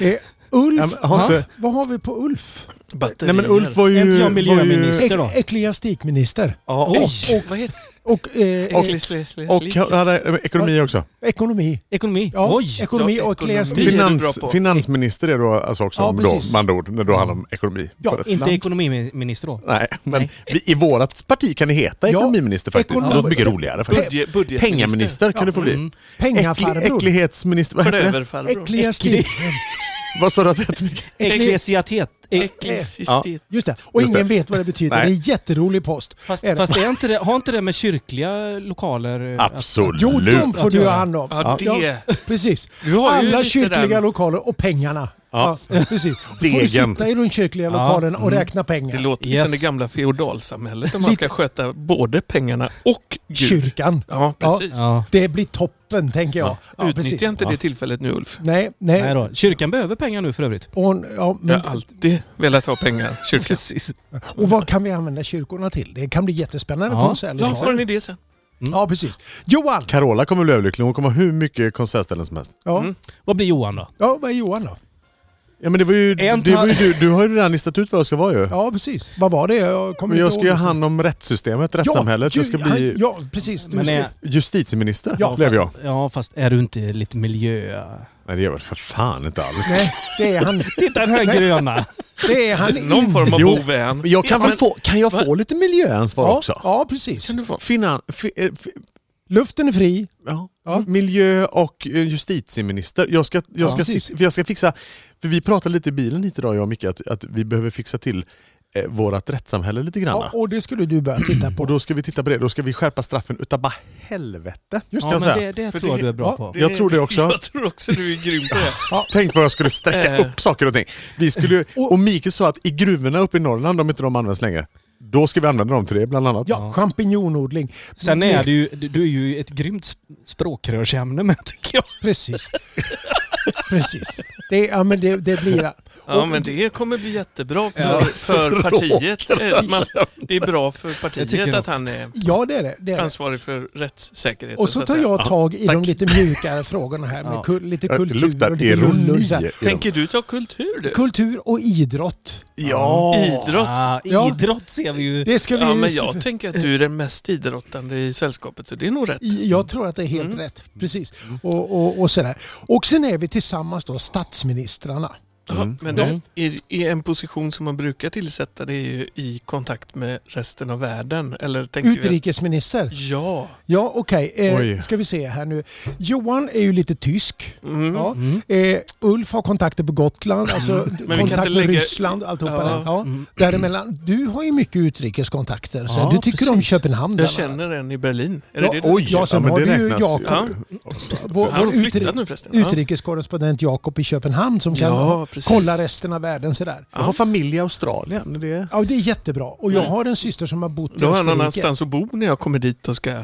[SPEAKER 4] Ja. Eh, Ulf,
[SPEAKER 3] Ja, men har inte-
[SPEAKER 4] ha? vad har vi på Ulf?
[SPEAKER 3] Nej men Ulf var ju...
[SPEAKER 5] Är inte jag
[SPEAKER 3] var ju-
[SPEAKER 5] miljöminister? Där då.
[SPEAKER 4] Ek- eklastikminister.
[SPEAKER 3] Ja, och,
[SPEAKER 1] Oj! Och, vad heter
[SPEAKER 4] Och, eh,
[SPEAKER 1] och,
[SPEAKER 4] ek-
[SPEAKER 3] Mm. och, han hade eh, ekonomi också.
[SPEAKER 4] ekonomi.
[SPEAKER 5] Ekonomi.
[SPEAKER 4] Ja,
[SPEAKER 5] Oj!
[SPEAKER 4] ekonomi
[SPEAKER 1] Ja,
[SPEAKER 4] och
[SPEAKER 1] ekonomi.
[SPEAKER 4] eklastik.
[SPEAKER 1] Fin- är du
[SPEAKER 3] Finans,
[SPEAKER 1] bra på.
[SPEAKER 3] finansminister är då alltså också
[SPEAKER 4] Ja,
[SPEAKER 3] om då,
[SPEAKER 4] precis.
[SPEAKER 3] med andra ord, när då handlar om ekonomi.
[SPEAKER 4] Ja,
[SPEAKER 3] För ett
[SPEAKER 5] Inte
[SPEAKER 3] land.
[SPEAKER 5] ekonomiminister då?
[SPEAKER 3] Nej, men vi, i vårt parti kan ni heta
[SPEAKER 4] Ja,
[SPEAKER 3] ekonomiminister faktiskt.
[SPEAKER 4] ekonom-
[SPEAKER 3] Det låter mycket roligare faktiskt.
[SPEAKER 1] Budget- budgetminister.
[SPEAKER 3] Pengaminister kan du få bli.
[SPEAKER 4] Pengafarbror.
[SPEAKER 3] Äckli- äcklighetsminister, vad heter det?
[SPEAKER 1] Bröverfarbror.
[SPEAKER 4] Eklastik.
[SPEAKER 3] Vad sa du att det hette? Mikael?
[SPEAKER 5] Eklesiatet. E-
[SPEAKER 1] Eklecistit.
[SPEAKER 4] Just det. Och
[SPEAKER 3] Just
[SPEAKER 4] ingen
[SPEAKER 3] det.
[SPEAKER 4] vet vad det betyder.
[SPEAKER 3] Nej.
[SPEAKER 4] Det är en jätterolig post.
[SPEAKER 5] Fast,
[SPEAKER 4] Är det?
[SPEAKER 5] fast är inte det, har inte det med kyrkliga lokaler? eh, att-
[SPEAKER 3] Absolut.
[SPEAKER 4] Jo, de får du ha hand om.
[SPEAKER 1] Ja, det-
[SPEAKER 4] precis.
[SPEAKER 1] Du har ju
[SPEAKER 4] Alla
[SPEAKER 1] lite
[SPEAKER 4] kyrkliga
[SPEAKER 1] den-
[SPEAKER 4] lokaler och pengarna. Ja. precis. Då får du
[SPEAKER 3] Degen.
[SPEAKER 4] sitta i de kyrkliga lokalerna och räkna
[SPEAKER 1] Det
[SPEAKER 4] pengar.
[SPEAKER 1] låter lite
[SPEAKER 5] Yes.
[SPEAKER 1] som det gamla feodalsamhället om man ska sköta både pengarna och Gud.
[SPEAKER 4] Kyrkan.
[SPEAKER 1] Ja, precis.
[SPEAKER 5] Ja.
[SPEAKER 4] Det blir toppen, tänker jag. Ja, precis.
[SPEAKER 1] Utnyttja inte det tillfället nu Ulf.
[SPEAKER 4] Nej, nej.
[SPEAKER 5] Nej då. Kyrkan behöver pengar nu för övrigt.
[SPEAKER 4] Och, ja,
[SPEAKER 1] Jag
[SPEAKER 4] men,
[SPEAKER 1] har alltid velat ha pengar, kyrkan.
[SPEAKER 5] Precis.
[SPEAKER 4] och
[SPEAKER 3] Mm.
[SPEAKER 4] vad kan vi använda kyrkorna till? Det kan bli jättespännande
[SPEAKER 5] Ja.
[SPEAKER 4] på oss. eller
[SPEAKER 1] Jag
[SPEAKER 4] hur?
[SPEAKER 1] har en idé sen.
[SPEAKER 4] ja, precis. Johan!
[SPEAKER 3] Carola kommer bli överlycklig. Hon kommer ha hur mycket konsertställen som helst.
[SPEAKER 4] Ja.
[SPEAKER 5] Vad blir Johan då?
[SPEAKER 4] ja, vad är Johan då?
[SPEAKER 3] Ja, men det var ju,
[SPEAKER 5] En
[SPEAKER 3] det
[SPEAKER 5] ta-
[SPEAKER 3] var ju du, du har ju redan listat ut vad jag ska vara ju.
[SPEAKER 4] Ja, precis. Vad var det? Jag kommer
[SPEAKER 3] men jag
[SPEAKER 4] inte
[SPEAKER 3] ska
[SPEAKER 4] ihåg
[SPEAKER 3] ju ha
[SPEAKER 4] det.
[SPEAKER 3] hand om rättssystemet, rättssamhället.
[SPEAKER 4] Ja,
[SPEAKER 3] Jag ska
[SPEAKER 4] ju-
[SPEAKER 3] bli
[SPEAKER 4] Ja, precis. Du
[SPEAKER 5] Men
[SPEAKER 4] ska,
[SPEAKER 5] är,
[SPEAKER 3] justitieminister,
[SPEAKER 4] Ja.
[SPEAKER 3] blev jag.
[SPEAKER 5] ja, fast är du inte lite miljö...
[SPEAKER 3] Nej, det gör jag väl för fan inte alls.
[SPEAKER 4] Nej, det är han,
[SPEAKER 5] Titta den här gröna!
[SPEAKER 4] det är han
[SPEAKER 1] Någon
[SPEAKER 4] inte.
[SPEAKER 1] form av
[SPEAKER 3] Jo,
[SPEAKER 1] bovän.
[SPEAKER 3] Men jag kan, väl få, kan jag få lite miljöansvar
[SPEAKER 4] ja,
[SPEAKER 3] också?
[SPEAKER 4] ja, precis.
[SPEAKER 1] Kan du få?
[SPEAKER 3] Finan, fi, eh, fi,
[SPEAKER 4] Luften är fri.
[SPEAKER 3] ja. Miljö och eh, justitieminister. Jag ska, jag, ska,
[SPEAKER 4] precis.
[SPEAKER 3] sit- för jag ska fixa... För vi pratade lite i bilen hit idag, jag och Micke, att, att vi behöver fixa till eh, vårt rättssamhälle lite grann.
[SPEAKER 4] Ja, och det skulle du börja titta på.
[SPEAKER 3] Och då ska vi titta på det. Då ska vi skärpa straffen utav bara helvete. Just
[SPEAKER 5] Ja, men
[SPEAKER 3] säga.
[SPEAKER 5] det, det tror jag
[SPEAKER 1] det-
[SPEAKER 5] du är bra
[SPEAKER 4] ja,
[SPEAKER 5] på.
[SPEAKER 3] Jag tror det också.
[SPEAKER 1] Jag tror också du är grym på det.
[SPEAKER 3] Tänk vad jag skulle sträcka
[SPEAKER 1] Eh.
[SPEAKER 3] upp saker och ting. Vi skulle, ju- och Mikael sa att i gruvorna uppe i Norrland, om inte de används längre, då ska vi använda dem till det bland annat.
[SPEAKER 4] Ja, champinjonodling.
[SPEAKER 5] Sen är du, ju- du är ju ett grymt sp- språkrörsämne med tycker jag.
[SPEAKER 4] Precis. Precis. Det, ja, men det, det blir...
[SPEAKER 1] Ja,
[SPEAKER 4] och-
[SPEAKER 1] men det kommer bli jättebra för,
[SPEAKER 2] Ja.
[SPEAKER 1] för partiet. Eh, Man, det är bra för
[SPEAKER 2] tycker
[SPEAKER 1] partiet
[SPEAKER 2] jag.
[SPEAKER 1] att han är
[SPEAKER 4] Ja, det är det. det, är det.
[SPEAKER 1] ansvarig för rättssäkerheten.
[SPEAKER 4] Och så
[SPEAKER 1] att
[SPEAKER 4] tar
[SPEAKER 1] säga.
[SPEAKER 4] jag tag i de
[SPEAKER 3] tack.
[SPEAKER 4] lite mjukare frågorna här med
[SPEAKER 2] Ja.
[SPEAKER 4] kul, lite
[SPEAKER 3] Det
[SPEAKER 4] kultur och
[SPEAKER 3] luktar
[SPEAKER 4] lite
[SPEAKER 3] ironi.
[SPEAKER 4] rullning så här.
[SPEAKER 1] Tänker du ta kultur du?
[SPEAKER 4] Kultur och idrott.
[SPEAKER 3] Ja!
[SPEAKER 1] Idrott?
[SPEAKER 2] Ah,
[SPEAKER 4] Ja.
[SPEAKER 2] idrott ser vi ju.
[SPEAKER 4] Det ska vi
[SPEAKER 1] Ja,
[SPEAKER 4] ju-
[SPEAKER 1] men jag tänker att du är den mest idrottande i sällskapet, så det är nog rätt.
[SPEAKER 4] Jag tror att det är helt
[SPEAKER 1] Mm.
[SPEAKER 4] rätt. Precis. Och, och, och sådär. Och sen är vi tillsammans då statsministrarna.
[SPEAKER 1] Ja, men
[SPEAKER 5] Mm.
[SPEAKER 1] de, i, i en position som man brukar tillsätta det är ju i kontakt med resten av världen. Eller tänker vi att-
[SPEAKER 4] Utrikesminister.
[SPEAKER 1] Ja.
[SPEAKER 4] Ja, okej. Eh,
[SPEAKER 3] Oj.
[SPEAKER 4] ska vi se här nu. Johan är ju lite tysk.
[SPEAKER 1] Mm.
[SPEAKER 4] Ja. Eh, Ulf har kontakter på Gotland, alltså
[SPEAKER 1] inte
[SPEAKER 4] kontakt med
[SPEAKER 1] lägga-
[SPEAKER 4] Ryssland alltihopa.
[SPEAKER 1] Ja. Mm.
[SPEAKER 4] där. Ja. Däremellan, du har ju mycket utrikeskontakter. Så
[SPEAKER 2] Ja,
[SPEAKER 4] du tycker om
[SPEAKER 2] precis.
[SPEAKER 4] Köpenhamn. bland
[SPEAKER 1] Jag
[SPEAKER 4] annat.
[SPEAKER 1] känner en i Berlin. Är
[SPEAKER 4] Ja,
[SPEAKER 1] det det du?
[SPEAKER 3] Oj!
[SPEAKER 4] Ja, sen har
[SPEAKER 3] men det
[SPEAKER 4] du ju
[SPEAKER 3] räknas
[SPEAKER 4] Jakob.
[SPEAKER 1] Ja.
[SPEAKER 4] Vår,
[SPEAKER 1] Han
[SPEAKER 4] vår
[SPEAKER 1] har flyttat
[SPEAKER 4] utri-
[SPEAKER 1] nu förresten. Ja.
[SPEAKER 4] utrikeskorrespondent Jakob i Köpenhamn som kan
[SPEAKER 1] Ja, precis.
[SPEAKER 4] kolla resten av världen sådär.
[SPEAKER 3] Jag har familj i Australien. Det är...
[SPEAKER 4] Ja, det är jättebra. Och jag
[SPEAKER 1] Mm.
[SPEAKER 4] har en syster som har bott i
[SPEAKER 1] Då har han
[SPEAKER 4] Österrike.
[SPEAKER 1] annanstans att bo när jag kommer dit och ska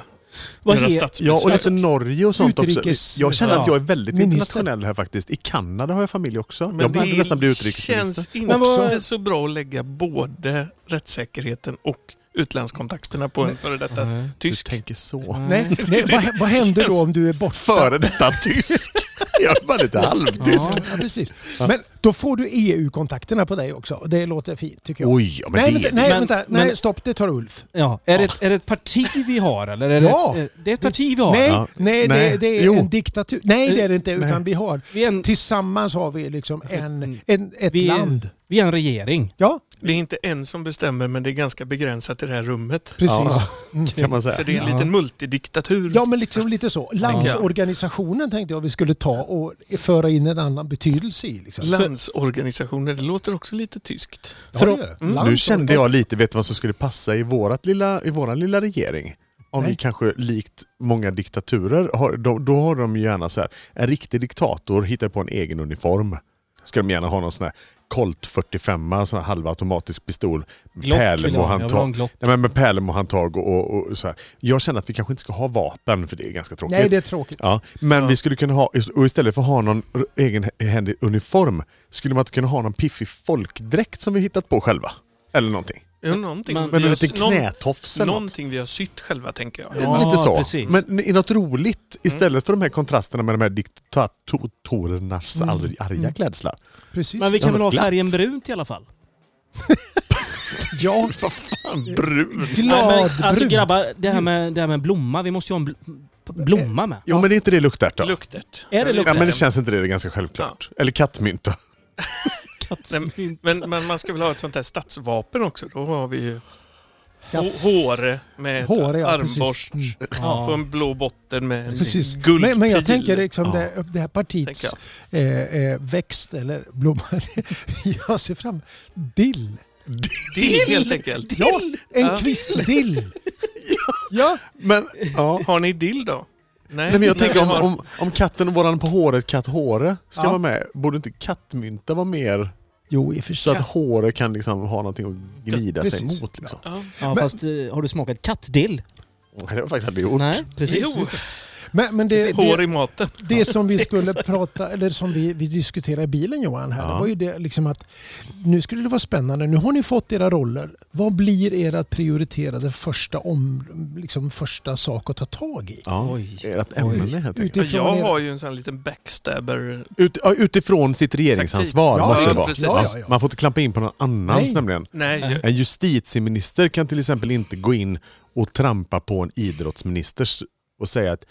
[SPEAKER 2] Vad
[SPEAKER 1] göra
[SPEAKER 2] he-
[SPEAKER 1] statsbesök.
[SPEAKER 3] Ja, och liksom- lite Norge och sånt
[SPEAKER 4] Utrikes-
[SPEAKER 3] också. Jag känner att jag är väldigt
[SPEAKER 4] Minister.
[SPEAKER 3] internationell här faktiskt. I Kanada har jag familj också.
[SPEAKER 1] Men
[SPEAKER 3] jag
[SPEAKER 1] det
[SPEAKER 3] borde nästan bli utrikesminister.
[SPEAKER 1] känns inte
[SPEAKER 2] Men vad-
[SPEAKER 1] så bra att lägga både rättssäkerheten och utlandskontakterna på en före detta
[SPEAKER 2] Nej.
[SPEAKER 1] tysk.
[SPEAKER 3] Du tänker så.
[SPEAKER 4] Nej, nej, vad, vad händer då om du är borta?
[SPEAKER 3] Före detta tysk. jag är bara lite halvtysk.
[SPEAKER 4] Ja, precis. Men då får du EU-kontakterna på dig också. Det låter fint tycker jag.
[SPEAKER 3] Oj, ja, men
[SPEAKER 4] nej,
[SPEAKER 3] det
[SPEAKER 4] vänta,
[SPEAKER 3] är
[SPEAKER 4] nej,
[SPEAKER 2] Men-
[SPEAKER 4] vänta, nej,
[SPEAKER 2] men-
[SPEAKER 4] stopp. Det tar Ulf.
[SPEAKER 2] Ja. Är, det ett, är det ett parti vi har eller? Är
[SPEAKER 4] Ja.
[SPEAKER 2] det, ett, eh, det är ett parti vi har.
[SPEAKER 4] Nej,
[SPEAKER 3] Ja.
[SPEAKER 4] nej,
[SPEAKER 3] Nej.
[SPEAKER 4] Det, det är
[SPEAKER 3] Jo.
[SPEAKER 4] en diktatur. Nej, det är det inte. Utan
[SPEAKER 3] Nej.
[SPEAKER 4] vi har,
[SPEAKER 2] Vi är en,
[SPEAKER 4] tillsammans har vi liksom en,
[SPEAKER 2] Mm.
[SPEAKER 4] en, ett
[SPEAKER 2] Vi-
[SPEAKER 4] land.
[SPEAKER 2] vi är en regering.
[SPEAKER 4] Ja,
[SPEAKER 1] Det är inte en som bestämmer men det är ganska begränsat i det här rummet.
[SPEAKER 4] precis.
[SPEAKER 3] Ja. kan man
[SPEAKER 1] Så
[SPEAKER 3] säga.
[SPEAKER 1] det är en liten multidiktatur.
[SPEAKER 4] Ja, men liksom lite så. Landsorganisationen tänkte jag vi skulle ta och föra in en annan betydelse i. Liksom.
[SPEAKER 1] Landsorganisationer, det låter också lite tyskt.
[SPEAKER 4] Ja,
[SPEAKER 2] För-
[SPEAKER 4] det gör det.
[SPEAKER 3] Mm. Nu
[SPEAKER 4] Landsorgan-
[SPEAKER 3] kände jag lite, vet du vad som skulle passa i, vårat lilla, i våran lilla regering? Om
[SPEAKER 4] Nej.
[SPEAKER 3] vi kanske likt många diktaturer, har, då, då har de ju gärna så här, en riktig diktator hittar på en egen uniform. Ska de gärna ha någon sån här Colt 45, sån här halvautomatisk pistol.
[SPEAKER 2] Glock vill jag ha. Jag vill ha en
[SPEAKER 3] pärlemohandtag.
[SPEAKER 2] Glock.
[SPEAKER 3] Nej men med pärlemohandtag och, och, och så här. Jag känner att vi kanske inte ska ha vapen för det är ganska tråkigt.
[SPEAKER 4] Nej, det är tråkigt.
[SPEAKER 3] Ja, men vi skulle kunna ha, och istället för att ha någon r- egenhändig uniform, skulle man inte kunna ha någon piffig folkdräkt som vi hittat på själva? Eller någonting.
[SPEAKER 1] Ja, någonting
[SPEAKER 2] Men-
[SPEAKER 3] Men
[SPEAKER 1] vi
[SPEAKER 3] en
[SPEAKER 1] har-
[SPEAKER 3] liten
[SPEAKER 1] någon-
[SPEAKER 3] knätofs eller något.
[SPEAKER 1] Någonting vi har sytt själva tänker jag.
[SPEAKER 2] Ja,
[SPEAKER 3] Lite så.
[SPEAKER 2] precis.
[SPEAKER 3] Men i något roligt
[SPEAKER 4] Mm.
[SPEAKER 3] istället för de här kontrasterna med de här diktatorernas
[SPEAKER 4] Mm.
[SPEAKER 3] aldrig arga klädslar.
[SPEAKER 4] Precis.
[SPEAKER 2] Men vi kan
[SPEAKER 3] Ja,
[SPEAKER 2] väl ha
[SPEAKER 3] glatt.
[SPEAKER 2] färgen brunt i alla fall?
[SPEAKER 4] Ja,
[SPEAKER 3] Vad fan, brun!
[SPEAKER 2] Nej, men, alltså
[SPEAKER 4] gladbrunt.
[SPEAKER 2] grabbar, det här, med, det här med blomma. Vi måste ju ha en bl- blomma
[SPEAKER 4] Eh,
[SPEAKER 2] med.
[SPEAKER 3] Jo men är inte det luktärt då?
[SPEAKER 1] Luktet.
[SPEAKER 2] Är det
[SPEAKER 3] Ja
[SPEAKER 2] luktärt?
[SPEAKER 3] men det känns inte det, det är ganska självklart. Eller kattmynta.
[SPEAKER 1] Nej, Men, men man ska väl ha ett sånt här stadsvapen också? Då har vi ju hå- håre med ett
[SPEAKER 4] Håre, ja, precis.
[SPEAKER 1] armborst på en blå botten med en
[SPEAKER 4] Precis.
[SPEAKER 1] guldpil.
[SPEAKER 4] Men, men jag tänker liksom det, det här partiets
[SPEAKER 1] Tänker
[SPEAKER 4] eh, eh, växt eller blomma. jag ser fram dill.
[SPEAKER 1] Dill helt enkelt.
[SPEAKER 4] Ja, en
[SPEAKER 1] Ja.
[SPEAKER 4] kvistdill. ja.
[SPEAKER 3] Men, ja.
[SPEAKER 1] Har ni dill då?
[SPEAKER 3] Nej, men jag tänker
[SPEAKER 1] vi
[SPEAKER 3] om,
[SPEAKER 1] har-
[SPEAKER 3] om, om katten och våran på håret, katt Håre, ska
[SPEAKER 4] Ja.
[SPEAKER 3] vara med. Borde inte kattmynta vara mer
[SPEAKER 4] Jo, i och för
[SPEAKER 3] så
[SPEAKER 4] sig.
[SPEAKER 3] att håret kan liksom ha någonting att glida sig
[SPEAKER 4] Precis.
[SPEAKER 3] mot? Liksom.
[SPEAKER 1] Ja.
[SPEAKER 2] Ja, fast eh, har du smakat kattdill?
[SPEAKER 3] Det har jag faktiskt aldrig gjort.
[SPEAKER 2] Nej, precis.
[SPEAKER 1] Jo,
[SPEAKER 4] Men, men det,
[SPEAKER 1] hår
[SPEAKER 4] det,
[SPEAKER 1] i maten.
[SPEAKER 4] det som vi skulle prata, eller som vi, vi diskuterade i bilen Johan här, det var ju det liksom att nu skulle det vara spännande. Nu har ni fått era roller. Vad blir era prioriterade första, om, liksom första sak att ta tag i?
[SPEAKER 3] Ja,
[SPEAKER 2] Oj.
[SPEAKER 3] ert ämne helt enkelt.
[SPEAKER 1] Ja,
[SPEAKER 4] Utifrån
[SPEAKER 1] Jag
[SPEAKER 4] era-
[SPEAKER 1] har ju en sån här liten backstabber.
[SPEAKER 3] Ut, ja, utifrån sitt regeringsansvar
[SPEAKER 4] Taktik.
[SPEAKER 3] måste
[SPEAKER 4] Ja, ja,
[SPEAKER 3] det vara.
[SPEAKER 1] precis.
[SPEAKER 4] Ja, ja, ja.
[SPEAKER 3] Man får inte klampa in på någon annans
[SPEAKER 4] Nej.
[SPEAKER 3] nämligen.
[SPEAKER 1] Nej, jag-
[SPEAKER 3] En justitieminister kan till exempel inte gå in och trampa på en idrottsministers och säga att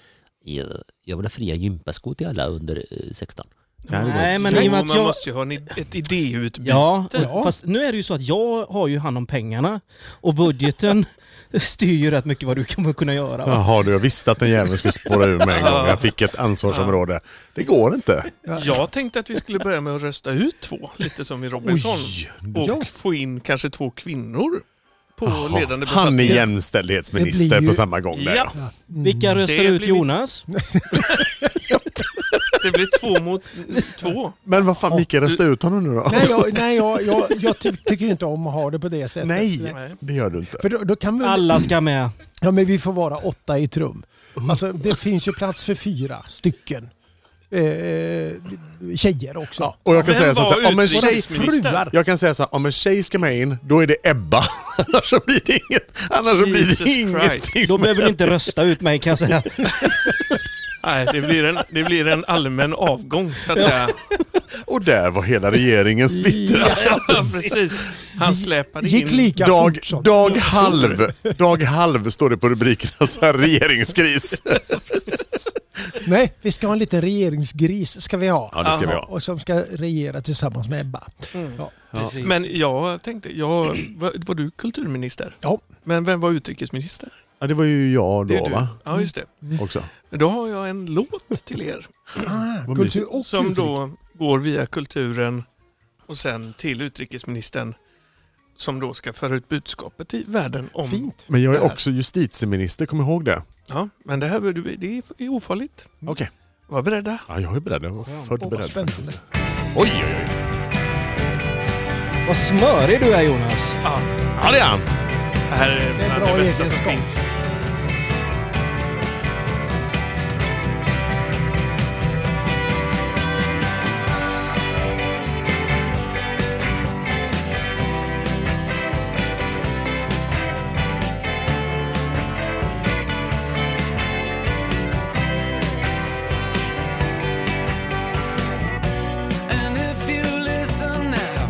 [SPEAKER 7] jag, jag vill ha fria gympaskor till alla under eh, 16.
[SPEAKER 3] Nej, det går
[SPEAKER 2] Nej,
[SPEAKER 3] inte.
[SPEAKER 2] men i och med
[SPEAKER 1] jo, man
[SPEAKER 2] att jag...
[SPEAKER 1] måste ju ha en, id- ett idéutbyte.
[SPEAKER 2] Ja, och-
[SPEAKER 4] Ja.
[SPEAKER 2] fast nu är det ju så att jag har ju hand om pengarna och budgeten styr ju rätt mycket vad du kommer kunna göra. va?
[SPEAKER 3] Jaha du, jag visste att den jäveln skulle spåra ur mig en gång. Jag fick ett ansvarsområde. Det går inte.
[SPEAKER 1] Jag tänkte att vi skulle börja med att rösta ut två, lite som i Robinson.
[SPEAKER 3] Oj,
[SPEAKER 1] och
[SPEAKER 3] ja.
[SPEAKER 1] få in kanske två kvinnor på ledande
[SPEAKER 3] Han är
[SPEAKER 1] befattningar.
[SPEAKER 4] Det
[SPEAKER 3] jämställdhetsminister
[SPEAKER 4] blir ju-
[SPEAKER 3] på samma gång. Där.
[SPEAKER 1] Ja,
[SPEAKER 3] ja.
[SPEAKER 2] Vilka röstar
[SPEAKER 1] Det
[SPEAKER 2] ut
[SPEAKER 1] blir-
[SPEAKER 2] Jonas?
[SPEAKER 1] det blir två mot två.
[SPEAKER 3] Men vad fan, Mikael rösta ut honom nu då.
[SPEAKER 4] Nej, jag, nej jag, jag, jag ty tycker inte om att ha det på det sättet.
[SPEAKER 3] Nej, det gör du inte.
[SPEAKER 4] För då, då kan vi,
[SPEAKER 2] Alla ska med.
[SPEAKER 4] ja, men vi får vara åtta i ett rum. Alltså, det finns ju plats för fyra stycken. eh, tjejer också.
[SPEAKER 3] Ja, och jag kan
[SPEAKER 1] Vem
[SPEAKER 3] säga så
[SPEAKER 1] var
[SPEAKER 3] här, om en tjej...
[SPEAKER 1] utrikesminister?
[SPEAKER 4] fruar.
[SPEAKER 3] Jag kan säga så här, om en tjej ska med in, då är det Ebba. annars så blir det inget. Annars så blir
[SPEAKER 1] Jesus
[SPEAKER 3] det ingenting.
[SPEAKER 1] Christ.
[SPEAKER 2] Då behöver ni inte rösta ut mig kan jag säga.
[SPEAKER 1] Nej, det blir, en, det blir en allmän avgång så att säga.
[SPEAKER 3] Och där var hela regeringen splittrad.
[SPEAKER 1] Ja, precis. Han släpade
[SPEAKER 4] Gick
[SPEAKER 1] in...
[SPEAKER 4] lika
[SPEAKER 3] Dag,
[SPEAKER 4] fort som...
[SPEAKER 3] dag halv. Dag halv står det på rubrikerna. Så här, regeringskris.
[SPEAKER 4] Nej, vi ska ha en liten regeringsgris ska vi ha.
[SPEAKER 3] Ja, det ska vi ha.
[SPEAKER 4] Och som ska regera tillsammans med Ebba. Ja.
[SPEAKER 1] Men jag tänkte, jag, var, var du kulturminister?
[SPEAKER 4] Ja.
[SPEAKER 1] Men vem var utrikesminister?
[SPEAKER 3] Ja, det var ju jag
[SPEAKER 1] Det
[SPEAKER 3] då va?
[SPEAKER 1] är du. Mm. Ja, just det.
[SPEAKER 3] Också.
[SPEAKER 1] Då har jag en låt till er
[SPEAKER 4] Ah,
[SPEAKER 3] Vad
[SPEAKER 4] kultur och
[SPEAKER 1] som
[SPEAKER 4] utrikes.
[SPEAKER 1] då går via kulturen och sen till utrikesministern som då ska föra ut budskapet i världen om...
[SPEAKER 4] Fint.
[SPEAKER 3] Men jag är
[SPEAKER 1] Där.
[SPEAKER 3] också justitieminister, kom ihåg det.
[SPEAKER 1] Ja, men det här behöver du- det är ofarligt.
[SPEAKER 3] Okej.
[SPEAKER 1] Var beredda.
[SPEAKER 3] Ja, jag är beredd. Jag var född
[SPEAKER 4] Åh, vad
[SPEAKER 3] beredd.
[SPEAKER 4] spännande.
[SPEAKER 3] faktiskt. Oj, oj, oj.
[SPEAKER 2] Vad smörig du är Jonas.
[SPEAKER 3] Ja, det är han.
[SPEAKER 1] Det här är
[SPEAKER 4] är
[SPEAKER 1] bland
[SPEAKER 4] bra
[SPEAKER 1] det bästa som
[SPEAKER 4] egenskap.
[SPEAKER 1] finns.
[SPEAKER 8] And if you listen now,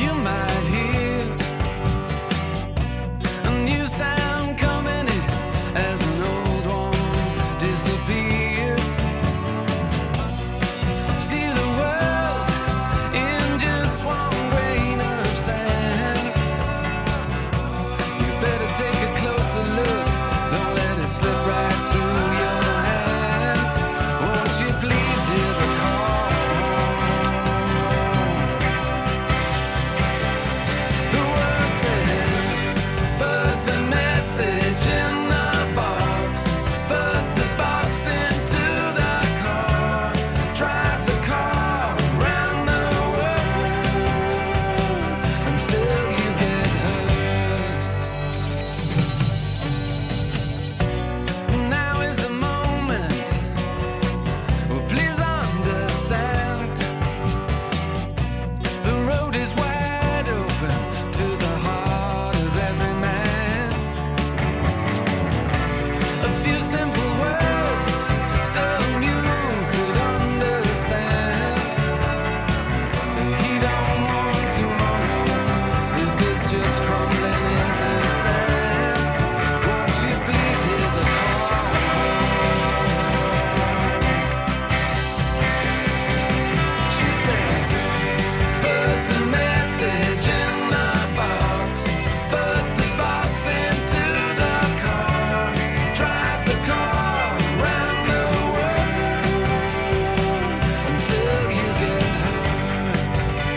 [SPEAKER 8] you might hear a new sound coming in as an old one disappears. See the world in just one grain of sand. You better take a closer look. Don't let it slip right through your hand. Won't you please hear the call? The word says, put the message in the box. Put the box into the car. Drive the car around the world until you get hurt. Now is the moment. Well, please understand. The road is wide open to the heart of every man. A few simple words, some you could understand. He don't want tomorrow if it's just crumbling into sand. Won't you please hear the call? She says. Put the message in the box. Put the box into the car. Drive the car around the world until you get home.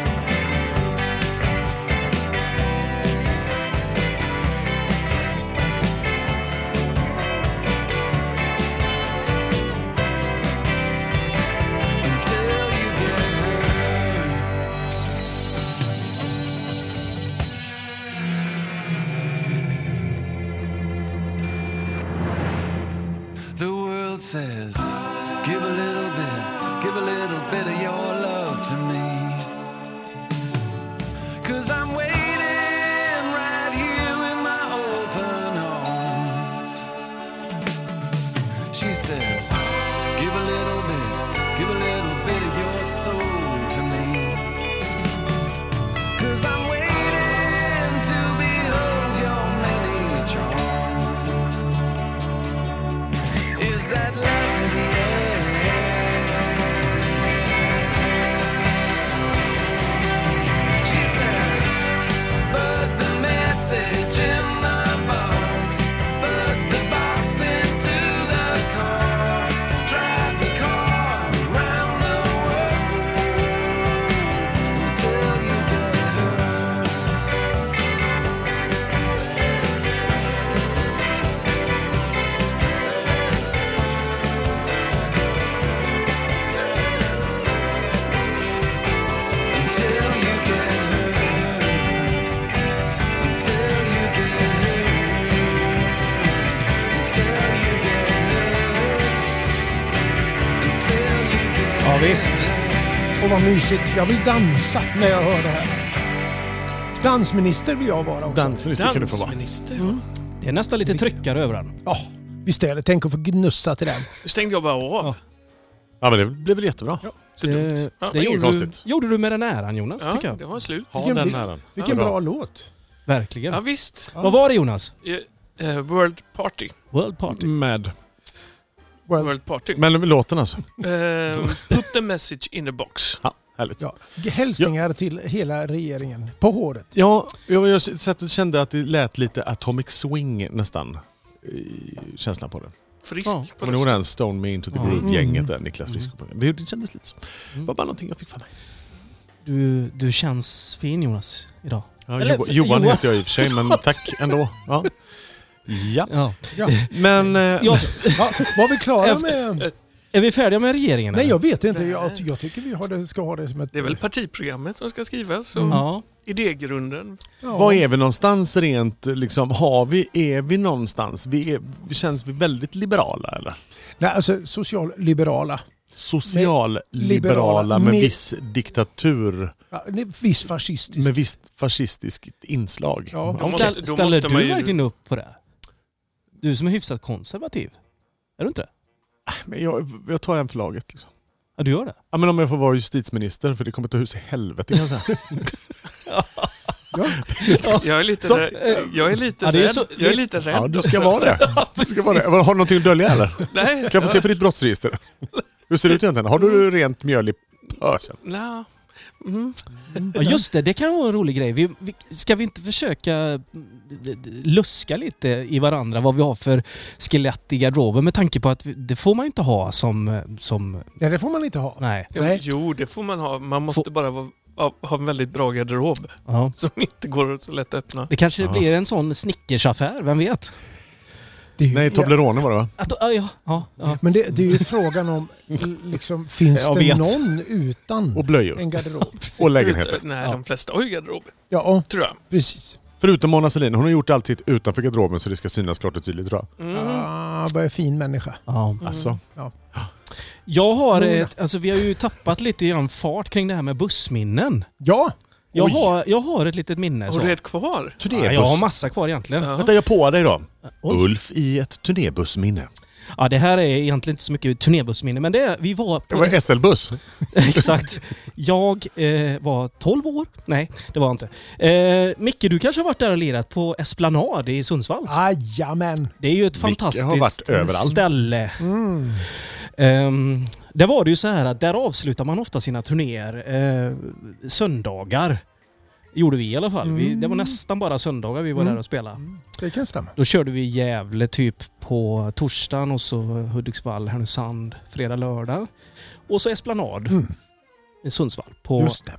[SPEAKER 8] Until you get home. The world says, give a little bit, give a little bit of your love to me. Cause I'm waiting right here in my open arms. She says, give a little bit, give a little bit of your soul to me. Cause I'm waiting to behold your many charms. Is that love in the air? She says,
[SPEAKER 5] Ja, visst.
[SPEAKER 4] Och vad mysigt. Jag vill dansa när jag hör det här. Dansminister vill jag vara också.
[SPEAKER 3] Dansminister kan du få vara.
[SPEAKER 1] Dansminister.
[SPEAKER 2] Det är nästan lite tryckare över den.
[SPEAKER 4] Ja, visst är det. Tänk att få gnussa till den.
[SPEAKER 1] Stängde jag bara av.
[SPEAKER 3] Ja, men det blev väl jättebra.
[SPEAKER 1] Så dumt. Ja,
[SPEAKER 3] det är inget
[SPEAKER 2] gjorde du,
[SPEAKER 3] konstigt.
[SPEAKER 2] gjorde du med den äran Jonas,
[SPEAKER 1] ja,
[SPEAKER 2] tycker jag.
[SPEAKER 1] det var slut.
[SPEAKER 3] Ha
[SPEAKER 4] Vilken
[SPEAKER 3] den
[SPEAKER 4] blick.
[SPEAKER 3] äran.
[SPEAKER 4] Vilken
[SPEAKER 3] Bra.
[SPEAKER 4] bra låt.
[SPEAKER 2] Verkligen.
[SPEAKER 1] Ja, visst.
[SPEAKER 2] Vad var det Jonas?
[SPEAKER 1] Eh, eh, World Party.
[SPEAKER 2] World
[SPEAKER 4] Mm.
[SPEAKER 2] Party.
[SPEAKER 3] Med.
[SPEAKER 1] World Party.
[SPEAKER 3] Men låten alltså.
[SPEAKER 1] Eh, put the message in the box.
[SPEAKER 3] Ja, härligt.
[SPEAKER 4] Ja. Hälsningar till hela regeringen. På håret.
[SPEAKER 3] Ja, jag, jag satt och kände att det lät lite Atomic Swing nästan. i Känslan på det.
[SPEAKER 1] Frisk
[SPEAKER 2] Ja,
[SPEAKER 1] på
[SPEAKER 3] Kommer du ihåg
[SPEAKER 1] rösten.
[SPEAKER 3] den Stone Me Into the
[SPEAKER 2] Ja. Mm.
[SPEAKER 3] Groove-gänget där? Niklas Frisk. Det, det kändes lite så. Det var bara någonting jag fick för mig.
[SPEAKER 2] Du, du känns fin Jonas idag.
[SPEAKER 3] Ja,
[SPEAKER 2] Eller,
[SPEAKER 3] Johan,
[SPEAKER 2] för-
[SPEAKER 3] Johan
[SPEAKER 2] Johan.
[SPEAKER 3] heter jag i och för sig, men tack ändå. Ja, ja.
[SPEAKER 2] Ja.
[SPEAKER 3] men... eh,
[SPEAKER 2] Ja,
[SPEAKER 4] Ja, var vi klara
[SPEAKER 2] Efter-
[SPEAKER 4] med...
[SPEAKER 2] är vi färdiga med regeringen?
[SPEAKER 4] Nej,
[SPEAKER 2] eller?
[SPEAKER 4] jag vet inte. Jag, jag tycker vi har det, ska ha det som ett...
[SPEAKER 1] Det är väl partiprogrammet som ska skrivas. Så
[SPEAKER 2] Mm. Ja.
[SPEAKER 1] Idégrunden.
[SPEAKER 4] Ja.
[SPEAKER 3] Var är vi någonstans rent liksom? Har vi, är vi någonstans? Vi är, vi känns vi väldigt liberala eller?
[SPEAKER 4] Nej, alltså socialliberala.
[SPEAKER 3] Socialliberala med,
[SPEAKER 4] med-
[SPEAKER 3] viss diktatur,
[SPEAKER 4] Ja, det är viss fascistisk.
[SPEAKER 3] med visst fascistiskt inslag.
[SPEAKER 4] Ja.
[SPEAKER 1] Då måste,
[SPEAKER 2] Ställ,
[SPEAKER 1] då
[SPEAKER 2] ställer
[SPEAKER 1] måste man
[SPEAKER 2] du
[SPEAKER 1] ju...
[SPEAKER 2] verkligen upp på det? Du som är hyfsat konservativ. Är du inte det?
[SPEAKER 3] Men jag, jag tar en för laget. Liksom.
[SPEAKER 2] Ja, du gör det.
[SPEAKER 3] Ja, men om jag får vara justitieminister, för det kommer ta hus i helvete kan jag säga.
[SPEAKER 1] Jag är lite
[SPEAKER 3] Så-
[SPEAKER 1] rädd. Jag är lite
[SPEAKER 2] eh, Ja, det är
[SPEAKER 1] rädd.
[SPEAKER 2] så-
[SPEAKER 1] jag är lite rädd.
[SPEAKER 3] Ja, du
[SPEAKER 1] också.
[SPEAKER 3] ska vara det. Du ska vara det. Har du någonting att dölja eller?
[SPEAKER 1] Nej.
[SPEAKER 3] Kan jag få se på ditt brottsregister? Hur ser det ut egentligen? Har du rent mjöl i pösen?
[SPEAKER 1] Nå. Mm,
[SPEAKER 2] Ja, just det. Det kan vara en rolig grej. Vi, vi, ska vi inte försöka mm, d- d- luska lite i varandra vad vi har för skelett i garderoben med tanke på att vi, det får man ju inte ha som... eh, som
[SPEAKER 4] Nej, det får man inte ha.
[SPEAKER 2] nej.
[SPEAKER 1] Jo,
[SPEAKER 4] Nej.
[SPEAKER 1] Jo, det får man ha. Man måste
[SPEAKER 2] Få-
[SPEAKER 1] bara vara, ha- ha en väldigt bra garderob
[SPEAKER 2] Ja.
[SPEAKER 1] som inte går så lätt att öppna.
[SPEAKER 2] Det kanske
[SPEAKER 3] Ja.
[SPEAKER 2] blir en sån snickersaffär, vem vet?
[SPEAKER 4] Det är ju-
[SPEAKER 3] Nej, Toblerone var det va?
[SPEAKER 2] Att,
[SPEAKER 1] ah,
[SPEAKER 2] ja, ja, ja, ja.
[SPEAKER 4] Men det, det är ju frågan om, liksom, finns
[SPEAKER 2] Jag
[SPEAKER 4] det
[SPEAKER 2] vet.
[SPEAKER 4] någon utan
[SPEAKER 3] Och blöjor.
[SPEAKER 4] en garderob?
[SPEAKER 3] Och lägenheter.
[SPEAKER 1] Ut- Nej,
[SPEAKER 2] Ja.
[SPEAKER 1] de flesta har ju garderob,
[SPEAKER 4] Ja,
[SPEAKER 1] tror jag.
[SPEAKER 4] precis.
[SPEAKER 3] Förutom Mona Sahlin, hon har gjort allt sitt utanför garderoben så det ska synas klart och tydligt tror jag.
[SPEAKER 1] Mm.
[SPEAKER 4] Ah, vad är fin människa.
[SPEAKER 2] ja.
[SPEAKER 3] Alltså,
[SPEAKER 2] Jag har
[SPEAKER 1] Mm.
[SPEAKER 4] Nora.
[SPEAKER 2] ett, alltså vi har ju tappat lite grann fart kring det här med bussminnen.
[SPEAKER 4] Ja,
[SPEAKER 2] Jag,
[SPEAKER 3] Oj.
[SPEAKER 2] har, jag har ett litet minne.
[SPEAKER 1] Har
[SPEAKER 2] Så.
[SPEAKER 1] du ett kvar?
[SPEAKER 2] ja,
[SPEAKER 3] turnébuss.
[SPEAKER 2] jag har massa kvar egentligen. Ja.
[SPEAKER 3] Vänta, jag på dig då.
[SPEAKER 2] Oj.
[SPEAKER 3] Ulf i ett turnébussminne.
[SPEAKER 2] det här är egentligen inte så mycket turnébussminne, men det är, vi var...
[SPEAKER 3] Det
[SPEAKER 2] På,
[SPEAKER 3] var SL-buss.
[SPEAKER 2] exakt. Jag eh, var 12 år. Nej, det var jag inte. Eh, Micke, du kanske har varit där och lirat på Esplanad i Sundsvall?
[SPEAKER 4] jajamän.
[SPEAKER 2] Det är ju ett
[SPEAKER 3] Micke har varit
[SPEAKER 2] fantastiskt
[SPEAKER 3] överallt. Mm.
[SPEAKER 2] ställe. Ehm, där var det ju så här att där avslutar man ofta sina turnéer eh, söndagar. Gjorde vi i alla fall. Vi,
[SPEAKER 3] Mm.
[SPEAKER 2] det var nästan bara söndagar vi var där och spelade.
[SPEAKER 4] Det kan stämma.
[SPEAKER 2] Då körde vi Gävle typ på torsdagen och så Hudiksvall, Härnösand, fredag, lördag. Och så Esplanad i Sundsvall på,
[SPEAKER 4] Mm. Just det.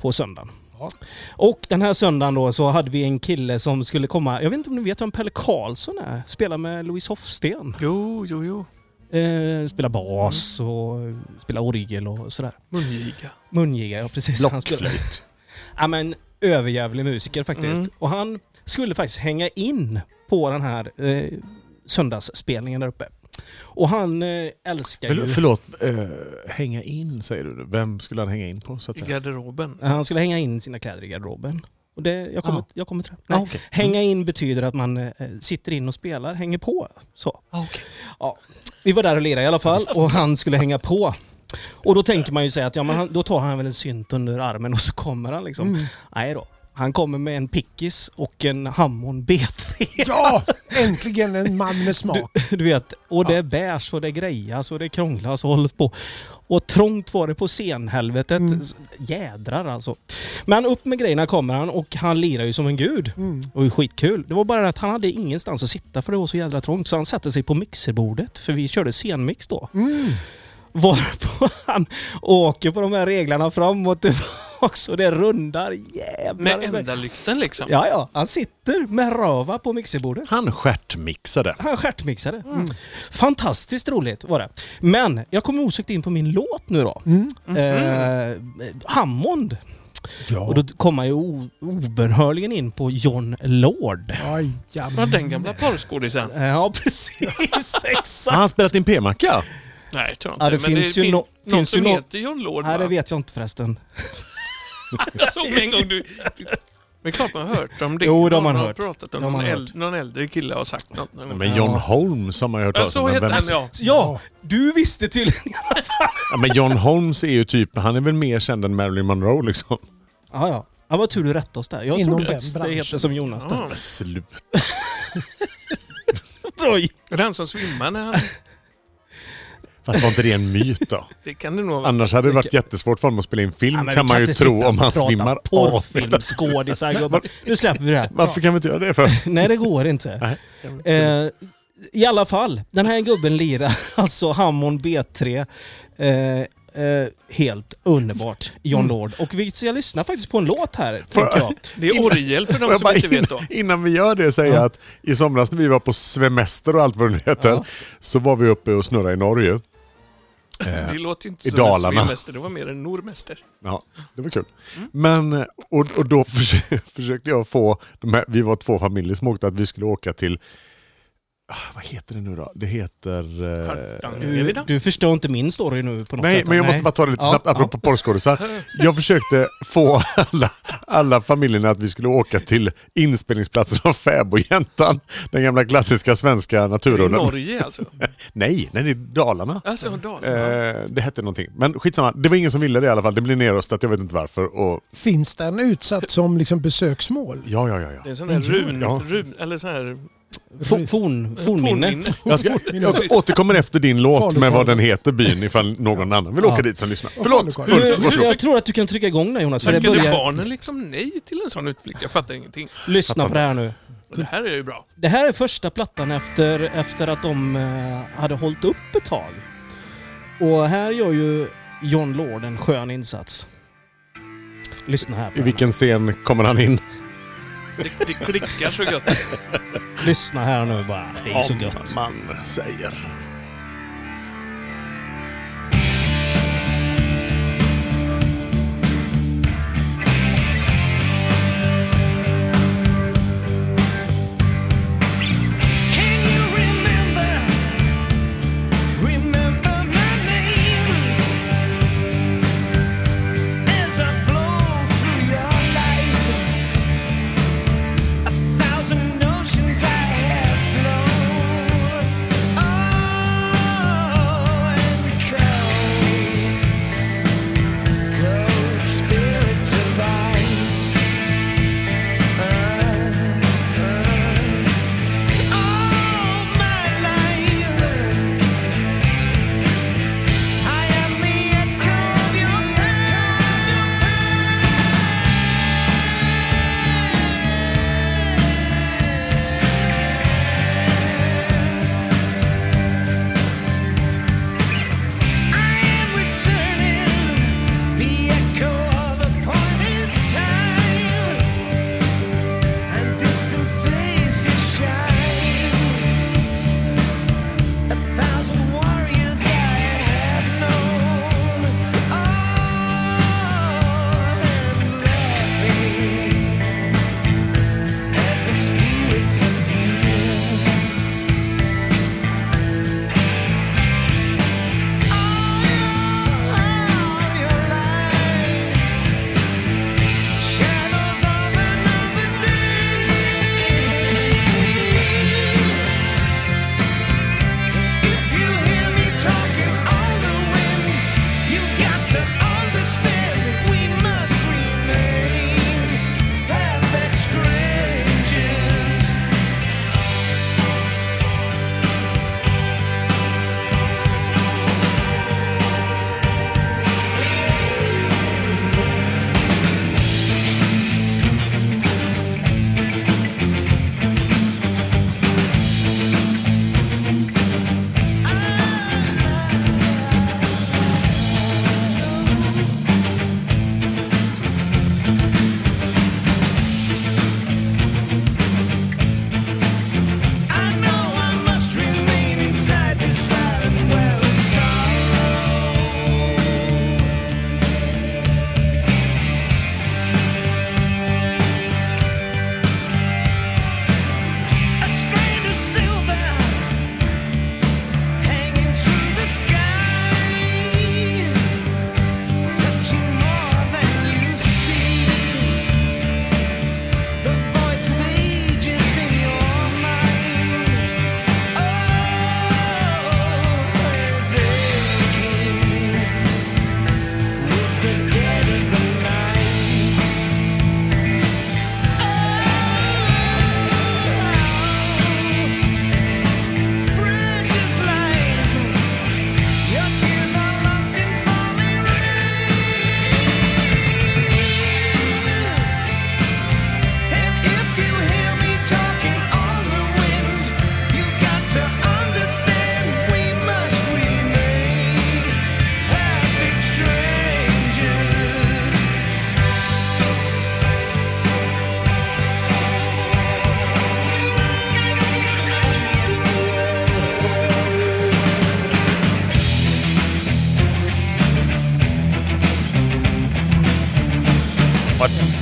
[SPEAKER 2] på söndagen.
[SPEAKER 4] Ja.
[SPEAKER 2] Och den här söndagen då så hade vi en kille som skulle komma, jag vet inte om ni vet vem Pelle Karlsson är? Spelar med Louise Hofsten.
[SPEAKER 1] Jo, jo, jo.
[SPEAKER 2] Eh, spelar bas
[SPEAKER 4] Mm.
[SPEAKER 2] och spelar orgel och sådär.
[SPEAKER 1] Mungiga.
[SPEAKER 2] Mungiga, ja precis. Han spelar-
[SPEAKER 3] Blockflöjt.
[SPEAKER 2] Ja men överjävlig musiker faktiskt.
[SPEAKER 1] Mm.
[SPEAKER 2] Och han skulle faktiskt hänga in på den här eh, söndagsspelningen där uppe. Och han eh, älskar
[SPEAKER 3] Förl-
[SPEAKER 2] ju...
[SPEAKER 3] Förlåt, eh, hänga in säger du. Vem skulle han hänga in på så att
[SPEAKER 1] I
[SPEAKER 3] säga?
[SPEAKER 1] garderoben.
[SPEAKER 2] Han skulle hänga in sina kläder i garderoben. Och det, jag, kommer,
[SPEAKER 3] Ah.
[SPEAKER 2] jag kommer till det. Nej.
[SPEAKER 3] Ah, okej.
[SPEAKER 2] Hänga in betyder att man eh, sitter in och spelar, hänger på. Så.
[SPEAKER 3] Ah.
[SPEAKER 2] Ja, vi var där och lirade i alla fall och han skulle hänga på. Och då tänker man ju sig att ja, men han, då tar han väl en synt under armen och så kommer han liksom.
[SPEAKER 3] Mm.
[SPEAKER 2] Nej då. Han kommer med en pickis och en Hammond B3.
[SPEAKER 4] Ja, äntligen en man med smak.
[SPEAKER 2] Du vet, och det bärs och det grejas och det krånglas och hålls på. Och trångt var det på scenhelvetet. S- Jädrar alltså. Men upp med grejerna kommer han och han lirar ju som en gud. Och det är skitkul. Det var bara det att han hade ingenstans att sitta för det var så jädra trångt. Så han satte sig på mixerbordet, för vi körde scenmix då. Varpå han åker på de här reglarna fram och tillbaks och det rundar jävlar.
[SPEAKER 1] Med enda lykten liksom.
[SPEAKER 2] Ja, ja. Han sitter med röva på mixerbordet.
[SPEAKER 3] Han stjärtmixade.
[SPEAKER 2] Han stjärtmixade. Fantastiskt roligt var det. Men jag kommer osökt in på min låt nu då. Eh, Hammond. Och då kommer jag ju o- obönhörligen in på John Lord.
[SPEAKER 1] Ja,
[SPEAKER 4] Jajamän.
[SPEAKER 1] den gamla porrskådisen.
[SPEAKER 2] Eh, Ja, precis.
[SPEAKER 3] Har
[SPEAKER 2] Exakt.
[SPEAKER 3] han spelat din p-macka?
[SPEAKER 1] Nej, tror jag inte.
[SPEAKER 2] Ja, det
[SPEAKER 1] Men
[SPEAKER 2] finns ju
[SPEAKER 1] fin-
[SPEAKER 2] nå-
[SPEAKER 1] någon
[SPEAKER 2] finns ju
[SPEAKER 1] som
[SPEAKER 2] nå-
[SPEAKER 1] heter John Lord.
[SPEAKER 2] Nej,
[SPEAKER 1] va?
[SPEAKER 2] det vet jag inte förresten.
[SPEAKER 1] Jag såg en gång du... du- Men klart man har hört om det.
[SPEAKER 2] Jo, de har
[SPEAKER 1] Någon
[SPEAKER 2] man
[SPEAKER 1] har
[SPEAKER 2] hört.
[SPEAKER 1] pratat om
[SPEAKER 2] De har
[SPEAKER 1] någon,
[SPEAKER 2] man
[SPEAKER 1] äldre, någon äldre kille har sagt något. någon gång.
[SPEAKER 3] Men John Holmes har man ju hört
[SPEAKER 1] Ja,
[SPEAKER 3] talas om.
[SPEAKER 1] så
[SPEAKER 3] men
[SPEAKER 1] hette
[SPEAKER 3] vem-
[SPEAKER 1] han
[SPEAKER 2] Ja,
[SPEAKER 1] ja.
[SPEAKER 2] du visste tydligen.
[SPEAKER 3] Ja, men John Holmes är ju typ, han är väl mer känd än Marilyn Monroe liksom.
[SPEAKER 2] Ja, ja. Ja, vad tur du rättade oss där. Jag
[SPEAKER 4] Inom
[SPEAKER 2] trodde
[SPEAKER 4] den
[SPEAKER 2] faktiskt det
[SPEAKER 4] branschen.
[SPEAKER 2] heter som Jonas. där.
[SPEAKER 1] Ja.
[SPEAKER 3] Men slut.
[SPEAKER 2] Bra.
[SPEAKER 1] Är det han som svimmar när han...
[SPEAKER 3] Fast var inte det en myt då?
[SPEAKER 1] Det kan det nog vara.
[SPEAKER 3] Annars hade det varit jättesvårt för honom att spela in film
[SPEAKER 2] Ja, men vi
[SPEAKER 3] kan man ju
[SPEAKER 2] inte sitta
[SPEAKER 3] tro om
[SPEAKER 2] och
[SPEAKER 3] han
[SPEAKER 2] prata
[SPEAKER 3] svimmar av.
[SPEAKER 2] Porrfilm, skådisar, gubbar. Nu släpper vi det här.
[SPEAKER 3] Varför kan vi inte göra det för?
[SPEAKER 2] Nej, det går inte. Eh, I alla fall, den här gubben lirar alltså Hammond B3. Eh, eh, helt underbart,
[SPEAKER 3] Mm.
[SPEAKER 2] John Lord. Och vi ska lyssna faktiskt på en låt här, tänker jag.
[SPEAKER 1] Det är orgel för
[SPEAKER 3] Får
[SPEAKER 1] de
[SPEAKER 3] jag
[SPEAKER 1] som
[SPEAKER 3] bara
[SPEAKER 1] inte
[SPEAKER 3] in-
[SPEAKER 1] vet då.
[SPEAKER 3] Innan vi gör det säger jag att i somras när vi var på semester och allt vad det nu heter
[SPEAKER 2] Ja.
[SPEAKER 3] så var vi uppe och snurrade i Norge.
[SPEAKER 1] Det låter ju inte
[SPEAKER 3] I
[SPEAKER 1] som en
[SPEAKER 3] Dalarna.
[SPEAKER 1] svimmäster, det var mer en normäster.
[SPEAKER 3] Ja, det var kul. Men, eh, och, och då försö- försökte jag få, de här, vi var två familjer som åkte, att vi skulle åka till, ah, vad heter det nu då? Det heter... eh,
[SPEAKER 2] Du,
[SPEAKER 1] Hardangervidda.
[SPEAKER 2] du förstår inte min story nu på något
[SPEAKER 3] Nej,
[SPEAKER 2] sätt.
[SPEAKER 3] men jag måste bara ta det lite
[SPEAKER 2] Ja,
[SPEAKER 3] snabbt apropå porrskådisar. Jag försökte få alla, alla familjerna att vi skulle åka till inspelningsplatsen av Fäbodjäntan. Den gamla klassiska svenska
[SPEAKER 1] I
[SPEAKER 3] naturrullen.
[SPEAKER 1] Norge alltså.
[SPEAKER 3] Nej, den är i Dalarna.
[SPEAKER 1] Alltså Dalarna.
[SPEAKER 3] Eh, det hette någonting. Men skitsamma, det var ingen som ville det i alla fall. Det blev nerröstat, jag vet inte varför. Och,
[SPEAKER 4] Finns den utsatt som liksom besöksmål?
[SPEAKER 3] ja, ja, ja, ja.
[SPEAKER 1] Det är sån här run...
[SPEAKER 3] Ja.
[SPEAKER 1] run eller sån här... eh,
[SPEAKER 2] Forn, forn, fornminne.
[SPEAKER 1] fornminne.
[SPEAKER 3] Jag, ska, jag återkommer efter din låt med vad den heter, byn, ifall någon annan vill åka dit som lyssnar. Förlåt,
[SPEAKER 4] Falukorv.
[SPEAKER 3] Ulf, varsågod.
[SPEAKER 2] Jag tror att du kan trycka igång den Jonas, för det
[SPEAKER 1] Tackade
[SPEAKER 2] börjar...
[SPEAKER 1] barnen liksom nej till en sån utflykt? Jag fattar ingenting.
[SPEAKER 2] Lyssna på det här nu.
[SPEAKER 1] Men det här är ju bra.
[SPEAKER 2] Det här är första plattan efter, efter att de eh, hade hållit upp ett tag. Och här gör ju John Lord en skön insats. Lyssna här på
[SPEAKER 3] I
[SPEAKER 2] den.
[SPEAKER 3] vilken scen kommer han in?
[SPEAKER 1] Det, det klickar så gött.
[SPEAKER 2] Lyssna här nu bara. Det är så
[SPEAKER 3] Om
[SPEAKER 2] gött.
[SPEAKER 3] man säger.
[SPEAKER 6] Can you remember? Remember my name as I flow through your life. A thousand notions I have flown. Oh,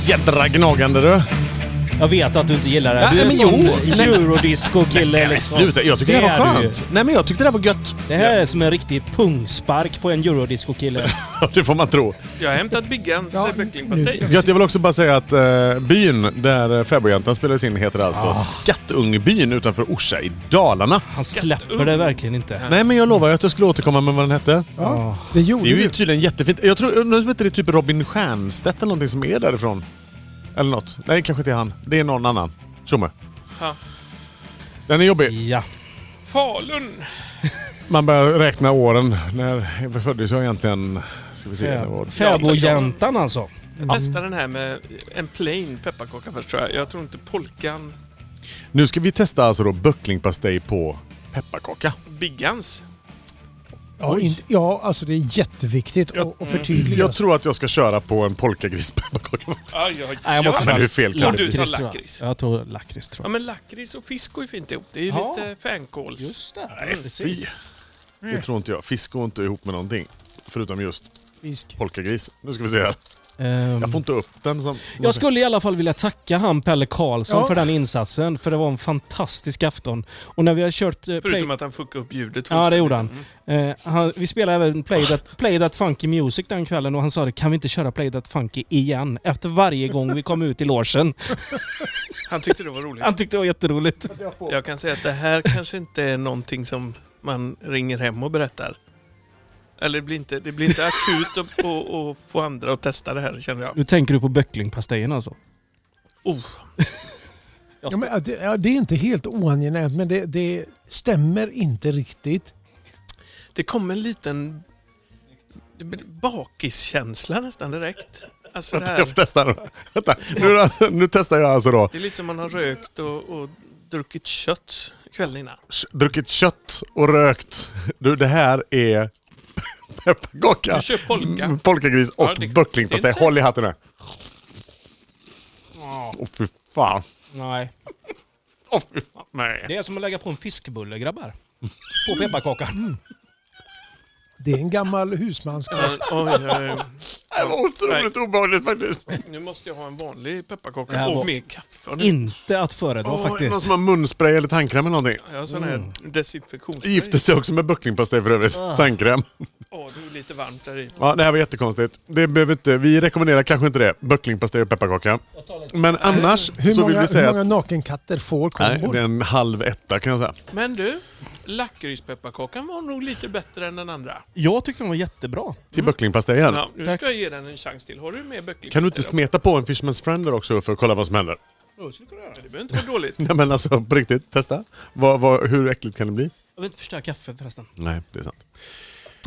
[SPEAKER 3] jädra gnagande du.
[SPEAKER 2] Jag vet att du inte gillar det.
[SPEAKER 3] Nej,
[SPEAKER 2] du är
[SPEAKER 3] men
[SPEAKER 2] en
[SPEAKER 3] jo.
[SPEAKER 2] sån eurodisco-kille liksom.
[SPEAKER 3] Sluta, jag tycker det, här var
[SPEAKER 2] är du ju.
[SPEAKER 3] skönt. Nej men jag tyckte det här var gött.
[SPEAKER 2] Det här är som en riktig pungspark på en eurodisco-kille.
[SPEAKER 3] det får man tro.
[SPEAKER 1] Jag har hämtat Biggans ja, böcklingpastej.
[SPEAKER 3] Gött, jag vill också bara säga att eh, byn där eh, Fäbodjäntan spelades in heter alltså Skattungbyn utanför Orsa i Dalarna.
[SPEAKER 2] Ah. Han släpper det verkligen inte.
[SPEAKER 3] Nej men jag lovar ju att jag skulle återkomma med vad den hette.
[SPEAKER 4] Ja, det gjorde
[SPEAKER 3] Det är ju
[SPEAKER 4] du.
[SPEAKER 3] tydligen jättefint. Jag tror, undrar om inte det är typ Robin Stjernstedt eller någonting som är därifrån. Eller något. Nej, kanske inte han. Det är någon annan. Tjomme.
[SPEAKER 1] Ja.
[SPEAKER 3] Den är jobbig.
[SPEAKER 2] Ja.
[SPEAKER 1] Falun.
[SPEAKER 3] Man börjar räkna åren. När jag föddes jag egentligen? Ska vi se. Det var...
[SPEAKER 2] Fäbodjäntan alltså.
[SPEAKER 1] Jag testade den här med en plain pepparkaka först tror jag. Jag tror inte polkan
[SPEAKER 3] Nu ska vi testa alltså då böcklingpastej på pepparkaka.
[SPEAKER 1] Biggans.
[SPEAKER 4] Ja, in, ja, alltså det är jätteviktigt att att förtydliga.
[SPEAKER 3] Jag tror att jag ska köra på en polkagrispepparkaka faktiskt.
[SPEAKER 1] Aj, aj,
[SPEAKER 2] Nej, jag måste
[SPEAKER 3] men
[SPEAKER 2] ta
[SPEAKER 3] det är fel
[SPEAKER 1] Och
[SPEAKER 3] kanske.
[SPEAKER 1] du tar
[SPEAKER 2] lakrits, tror jag.
[SPEAKER 1] lakrits.
[SPEAKER 2] Jag tror lakrits tror
[SPEAKER 1] Ja
[SPEAKER 2] jag.
[SPEAKER 1] men lakrits och fisk går ju fint ihop. Det är ju
[SPEAKER 2] Ja.
[SPEAKER 1] lite fänkåls... Just det.
[SPEAKER 3] Nej, fy. Det tror inte jag. Fisk går inte ihop med någonting. Förutom just
[SPEAKER 4] Fisk.
[SPEAKER 3] polkagris. Nu ska vi se här.
[SPEAKER 2] Ehm,
[SPEAKER 3] Jag får inte upp den som...
[SPEAKER 2] Jag skulle i alla fall vilja tacka han Pelle Karlsson
[SPEAKER 4] Ja.
[SPEAKER 2] för den insatsen. För det var en fantastisk afton. Och när vi har kört... Eh, play...
[SPEAKER 1] Förutom att Mm. han fuckade upp ljudet.
[SPEAKER 2] Ja, det gjorde han. Eh, han vi spelade även play that, play that Funky Music den kvällen och han sa det, kan vi inte köra Play That Funky igen? Efter varje gång vi kom ut i logen.
[SPEAKER 1] Han tyckte det var roligt.
[SPEAKER 2] Han tyckte det var jätteroligt.
[SPEAKER 1] Jag kan säga att det här kanske inte är någonting som man ringer hem och berättar. Eller det blir inte, det blir inte akut att och, och få andra att testa det här känner jag.
[SPEAKER 2] Nu tänker du på böcklingpastejen alltså?
[SPEAKER 1] Oh,
[SPEAKER 4] Ja, men, ja, det, ja, det är inte helt oangenämt, men det, det stämmer inte riktigt.
[SPEAKER 1] det kom en liten bakiskänsla nästan direkt. Alltså det, här,
[SPEAKER 3] Jag får testa den. Vänta. Nu, nu testar jag alltså då.
[SPEAKER 1] det är lite som man har rökt och, och druckit kött kvällen innan.
[SPEAKER 3] Druckit kött och rökt. Du, det här är pepparkaka.
[SPEAKER 1] Du kör polka.
[SPEAKER 3] Mm, Polkagris och
[SPEAKER 1] Ja, det- det är
[SPEAKER 3] böcklingpastej.
[SPEAKER 1] inte så-
[SPEAKER 3] Håll i hatten här. Åh, fy fan.
[SPEAKER 2] Nej.
[SPEAKER 3] Åh, fy fan. Nej.
[SPEAKER 2] Det är som att lägga på en fiskbulle grabbar. På pepparkakan.
[SPEAKER 4] Det är en gammal husmanskost.
[SPEAKER 1] Oj,
[SPEAKER 3] Mm.
[SPEAKER 1] oj, oj.
[SPEAKER 3] Det var otroligt obehagligt faktiskt.
[SPEAKER 1] Nu måste jag ha en vanlig
[SPEAKER 2] Det
[SPEAKER 1] pepparkaka
[SPEAKER 2] här
[SPEAKER 1] och
[SPEAKER 2] var
[SPEAKER 1] mer kaffe. Och nu-
[SPEAKER 2] Inte att föredra
[SPEAKER 3] Åh, Någon
[SPEAKER 2] faktiskt.
[SPEAKER 3] som har munspray eller tandkräm eller någonting.
[SPEAKER 1] Jag har sån här
[SPEAKER 3] Mm.
[SPEAKER 1] desinfektionsspray.
[SPEAKER 3] Gifte sig också med böcklingpastej för övrigt.
[SPEAKER 4] Ah.
[SPEAKER 3] Tandkräm.
[SPEAKER 1] Åh, det är lite varmt där i.
[SPEAKER 3] Ja, det här var jättekonstigt. Det behöver inte, vi rekommenderar kanske inte det. Böcklingpastej och pepparkaka. Men annars
[SPEAKER 4] Hur
[SPEAKER 3] så
[SPEAKER 4] många,
[SPEAKER 3] vill vi
[SPEAKER 4] hur
[SPEAKER 3] säga
[SPEAKER 4] många
[SPEAKER 3] att...
[SPEAKER 4] nakenkatter får
[SPEAKER 3] Nej,
[SPEAKER 4] kombon?
[SPEAKER 3] det är en halv etta kan jag säga.
[SPEAKER 1] Men du, lakritspepparkakan var nog lite bättre än den andra.
[SPEAKER 2] Jag tyckte den var jättebra.
[SPEAKER 3] Till böcklingpastejen.
[SPEAKER 1] Ja, nu
[SPEAKER 2] Tack.
[SPEAKER 1] ska jag ge den en chans till. Har du mer böcker?
[SPEAKER 3] Kan du inte smeta på en Fishman's Friend där också för att kolla vad som händer?
[SPEAKER 1] Det behöver inte vara dåligt.
[SPEAKER 3] Nej men alltså på riktigt, testa. Vad, vad, hur äckligt kan det bli?
[SPEAKER 2] Jag vill inte förstöra kaffet förresten.
[SPEAKER 3] Nej, det är sant.